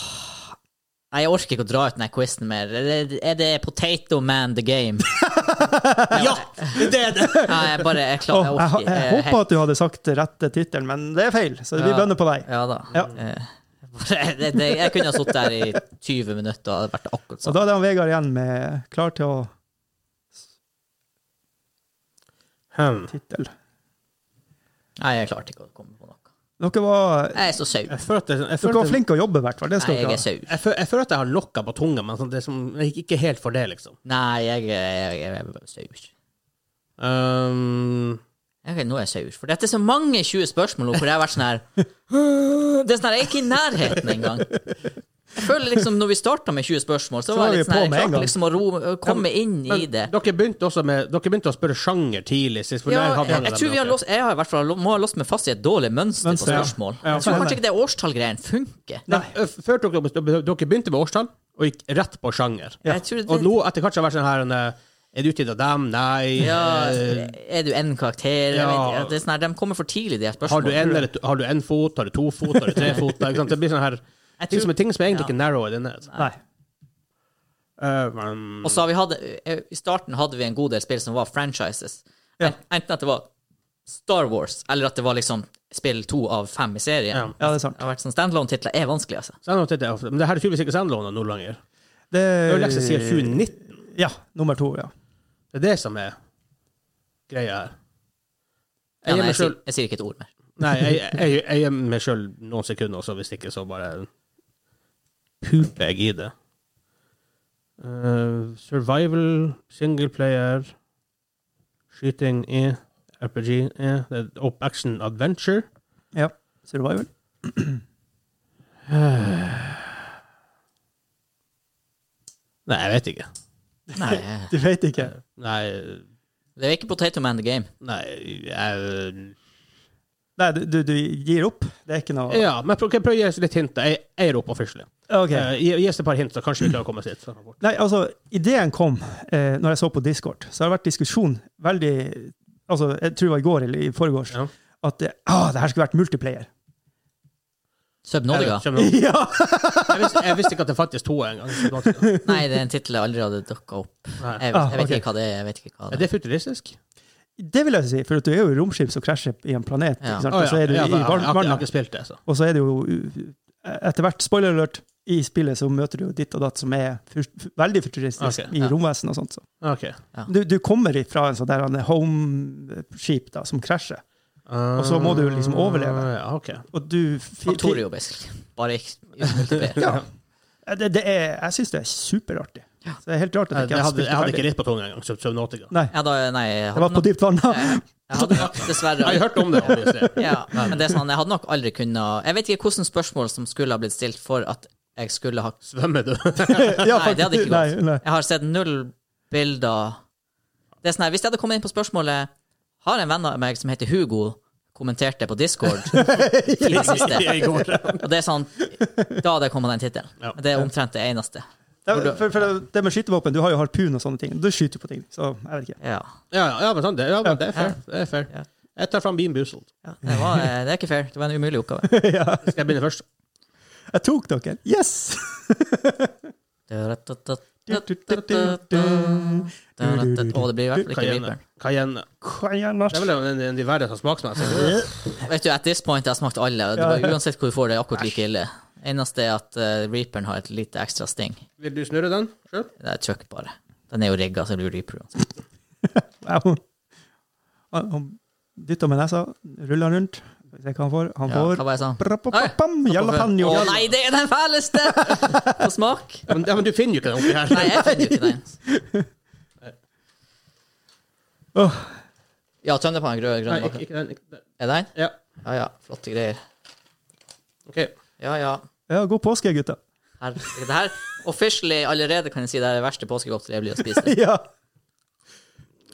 Nei, jeg orker ikke å dra ut denne quizen mer. Er det- Er det Potato Man the Game?
[laughs] Ja! Det er det!
Nei, jeg bare Jeg
Åh,
klarer
jeg
orker.
jeg, jeg
er
håpa
helt-
at du hadde sagt rette tittelen, men det er feil, så vi
eh, Ja.
bønner på deg.
Ja da.
Ja.
Eh, bare- [laughs] det, det, jeg kunne ha sittet her i 20 minutter og det hadde vært akkurat
Så
sånn.
da er det han Vegard igjen med klar til å
Hmm.
tittel.
Nei, jeg klarte ikke å komme på noe.
Dere var,
Jeg er så sau.
Jeg føler at jeg, jeg,
dere
føler
var
at jeg,
flinke å jobbe, i hvert fall. Det
Nei,
skal
jeg
dere
er
ha.
sau.
jeg, føler, jeg føler at jeg har lokka på tunga, men sånn, det som, jeg gikk ikke helt for det, liksom.
Nei, jeg, jeg, jeg er sau.
Um,
Ok, nå er jeg sur. For dette er så mange 20 spørsmål nå, hvor jeg har vært sånn her Det er sånn her, Jeg er ikke i nærheten engang. Jeg føler liksom når vi starta med 20 spørsmål, så,
Så
var
var
jeg litt
vi
sånn her,
på
jeg
med en
klarte
gang.
liksom å ro, å komme inn i det.
dere begynte også med Dere begynte å spørre sjanger tidlig sist. for
Ja,
der hadde
jeg, jeg
dem
tror vi har
dere.
låst, jeg har i hvert fall lo- må ha låst meg fast i et dårlig mønster på
Mønster, ja.
spørsmål.
Ja,
Jeg tror
for-
kanskje ikke det årstallgreien funker.
Nei, f- før dere, dere begynte med årstall og gikk rett på sjanger.
Jeg tror
Og
det,
nå etter hvert så har det vært sånn her en, Er det utgitt av dem? Nei.
ja, altså,
Eh,
er du en karakter? Jeg
Ja.
vet, ikke. det er sånn her, de kommer for tidlig, de her
har du
spørsmålene.
en, eller, to- har du en fot? Har du to fot? Har du tre fot? Ikke sant? Det blir sånn her
Jeg
ting
tror-
som, er- ting som er egentlig
Ja.
ikke narrow i denne.
Nei.
Eh, men-
Og så har vi hatt eh, I starten hadde vi en god del spill som var franchises.
Ja.
Enten at det var Star Wars, eller at det var liksom spill to av fem i serien.
Ja.
Ja, det er sant.
Det har vært sånn Standalone-titler er vanskelig, altså.
Sandlån til det, Men det her er tydeligvis ikke Sandlån nå lenger.
Det
Det er jo Lexus sier 2019.
Ja. Nummer to, ja.
Det er det som er greia her.
Ja,
Jeg gir
nei,
meg
jeg, sier,
selv-
jeg sier ikke et ord mer.
Nei, jeg, jeg, jeg gir meg sjøl noen sekunder også, hvis ikke så bare puper jeg i det. Eh, survival, singleplayer, skyting i RPG i, det er Opp action adventure.
ja. Survival.
Nei, jeg vet ikke.
Nei, eh,
Du vet ikke.
Nei,
det er ikke Potato Man the Game.
nei jeg, eh,
Nei, du, du, du gir opp? Det er ikke noe
Ja, men prøv, prøv å gi oss litt hint. Jeg, jeg er oppe officially.
Ok.
Eh, gi, gi oss et par hint, så kanskje vi klarer å komme oss dit.
Nei, altså, ideen kom eh, når jeg så på Discord. Så har det vært diskusjon veldig Altså, jeg tror det var i går eller i forgårs.
Ja.
At eh, ah, det her skulle vært multiplayer.
Subnodica.
Jeg, vet-
[laughs] ja!
jeg, visste, jeg visste ikke at det fantes to engang. Nei.
[laughs] Nei, det er en tittel jeg aldri hadde dukka opp. Jeg,
Ah,
jeg vet
ok.
ikke hva det er. Jeg vet ikke
Er
hva det er.
det futuristisk?
Det vil jeg si, for at du er jo i romskip som krasjer i en planet.
Ja.
Ikke sant?
Å,
Og så er du
ja,
i
jeg, jeg, jeg, har
vann-
ikke- jeg har
vannet.
ikke spilt det, så.
Og så er det jo uh, etter hvert, spoiler alert, i spillet så møter du jo ditt og datt som er fur- f veldig futuristisk
Ok,
i
ja.
romvesen og sånt. Så.
Ok.
Du, du kommer ifra en sånn der en homeskip da, som krasjer,
Og
så må du liksom overleve.
Ah, Ja, ok.
og du fi- fi-
Factorio, basically. Bare ikke uten multiplayer.
Ja. Eh, Det, det er, jeg syns det er superartig. Så det er helt rart
Jeg,
Eh,
at jeg ikke har
hadde,
spilt
jeg hadde
det
ikke
ferdig.
ritt på tunga engang. Sub- Subnautica.
Nei,
Ja, da, nei, jeg
jeg
hadde
var på
nok, [laughs]
dypt vann. [laughs]
jeg hadde nok
Jeg
dessverre
har hørt om det, obviously.
Ja, [laughs] men det er sånn, jeg hadde nok aldri kunnet Jeg vet ikke hvilke spørsmål som skulle ha blitt stilt for at jeg skulle ha
Svømmer du?
[laughs]
Ja,
Nei, det hadde ikke gått.
Nei, nei.
Jeg har sett null bilder Det er sånn her, Hvis jeg hadde kommet inn på spørsmålet Har en venn av meg som heter Hugo, kommentert det på [laughs] Discord i det siste?
[laughs] I går.
Og det er sånn Da hadde jeg kommet den tittelen.
Ja.
Det er omtrent det eneste.
Det, for, for det med skytevåpen, du har jo harpun og sånne ting. Du skyter jo på ting, så jeg vet ikke.
Ja.
Ja, ja, ja, men sånn, det, ja, men det er fair.
Ja.
Det er
Ja.
fair. Jeg tar fram Bean Boozled.
ja det, var, eh, det er ikke fair. Det var en umulig oppgave.
Skal jeg begynne først?
Jeg tok dere! Yes!
Å, [laughs] det blir i hvert fall ikke
Cayenne.
Reaperen.
Cayenne. Det er vel en- en av de verre sånn smaksmessig.
Vet du, At this point jeg har smakt alle, og det var uansett hvor du får det, er akkurat like ille. Eneste er at eh, Reaperen har et lite ekstra sting.
Vil du snurre den sjøl?
Det er chuck, bare. Den er jo rigga, så det blir Reaper uansett.
Au. Han han dytter med nesa, ruller rundt. Skal vi se hva han får. Han
Ja, hva
får
var jeg sa?
Brapapapam,
Nei,
jalapeno.
Å nei, det er den
[laughs]
fæleste! På smak.
Ja, men, ja, men du finner jo ikke den oppi her.
Nei, jeg finner jo ikke den.
Åh,
Ja, tønne på den grønne.
[laughs] Nei, ikke,
grønne bakken.
ikke den. Ikke den.
Er det den?
Ja,
Ja ja, flotte greier.
OK.
Ja ja.
ja, god påske, gutta. [laughs]
Her, det her, officially allerede kan jeg si det er det verste påskegodteriet jeg blir å spise.
ja.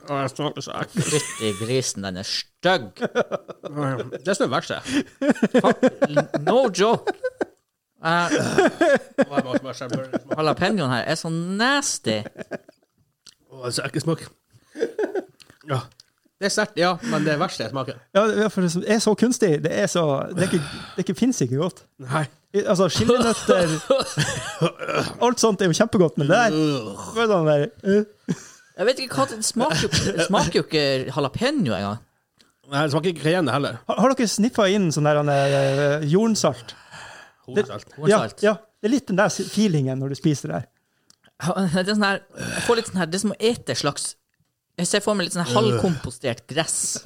Å, jeg smaker så ekkelt.
Fytti grisen, den er stygg.
Det er sånn verst, jeg.
No joke. Uh,
Å, jeg må bare skjerpe meg.
Jalapeñoen her er så nasty.
Å, det er så ekkel smak. [laughs] Ja. Det er sterkt, ja, men det er verst det smaker.
ja, det er for det er så kunstig. Det er så Det, er ikke, det er ikke, finnes ikke godt.
Nei.
I- Altså,
[laughs]
chilinøtter Alt sånt er jo kjempegodt, men det der bare sånn der, eh.
Jeg vet ikke hva Det det smaker jo, det smaker jo ikke jalapeño engang.
Nei, det smaker ikke cayenne heller.
har, har dere sniffa inn sånn der han er, eh, jornsalt?
Hovedsalt.
Ja,
Kornsalt.
ja. Det er litt den der feelingen når du spiser det her.
Det er sånn her, jeg får litt sånn her Det er som å ete slags Jeg ser for meg litt sånn
Øh.
her halvkompostert gress.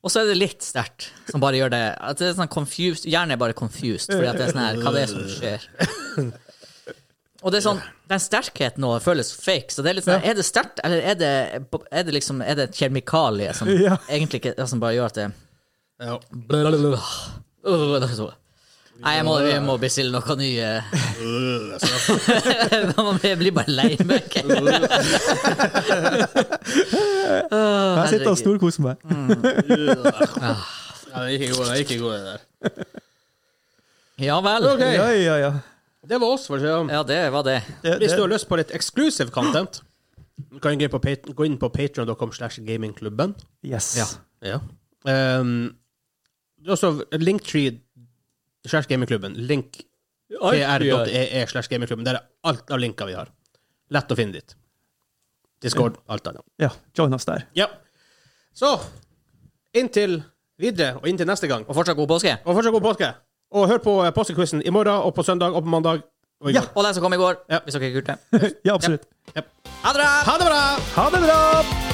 Og så er det litt sterkt, som bare gjør det at det er sånn confused, Hjernen er bare confused, fordi at det er sånn her Hva det er som skjer?
[laughs]
Og det er sånn, den sterkheten nå føles fake. Så det er litt sånn, er det sterkt, eller er det, er det liksom Er det et kjemikalie som
[laughs] Ja.
egentlig ikke Som bare gjør at det
Ja. [laughs]
Nei, jeg må, vi må bestille noe nye [laughs] Jeg blir bare lei meg.
Jeg sitter og storkoser meg.
Nei, det er ikke god, det er ikke god, det der.
Ja vel.
Ok.
Ja, ja, ja.
Det var oss, for å si det. sånn.
Ja, det var det.
Det,
Hvis du
det,
har lyst på litt exclusive content, du kan gå inn på, pat- gå inn på patreon.com slash gamingklubben.
yes.
Ja.
Ja. Um, det er også linktree slash gamingklubben. Link tr.ee E slash gamingklubben. Der er alt av linker vi har. Lett å finne dit. Discord, alt annet.
ja. Join oss der.
Ja. Så inntil videre, og inntil neste gang.
Og fortsatt god påske.
Og fortsatt god påske. Og hør på eh, påskekvissen i morgen, og på søndag, og på mandag. Og i
Ja.
går.
Og den som kom i går,
Ja.
hvis dere ikke har gjort det.
Ja, absolutt.
Jep.
Ha det bra!
Ha det bra!
Ha det bra!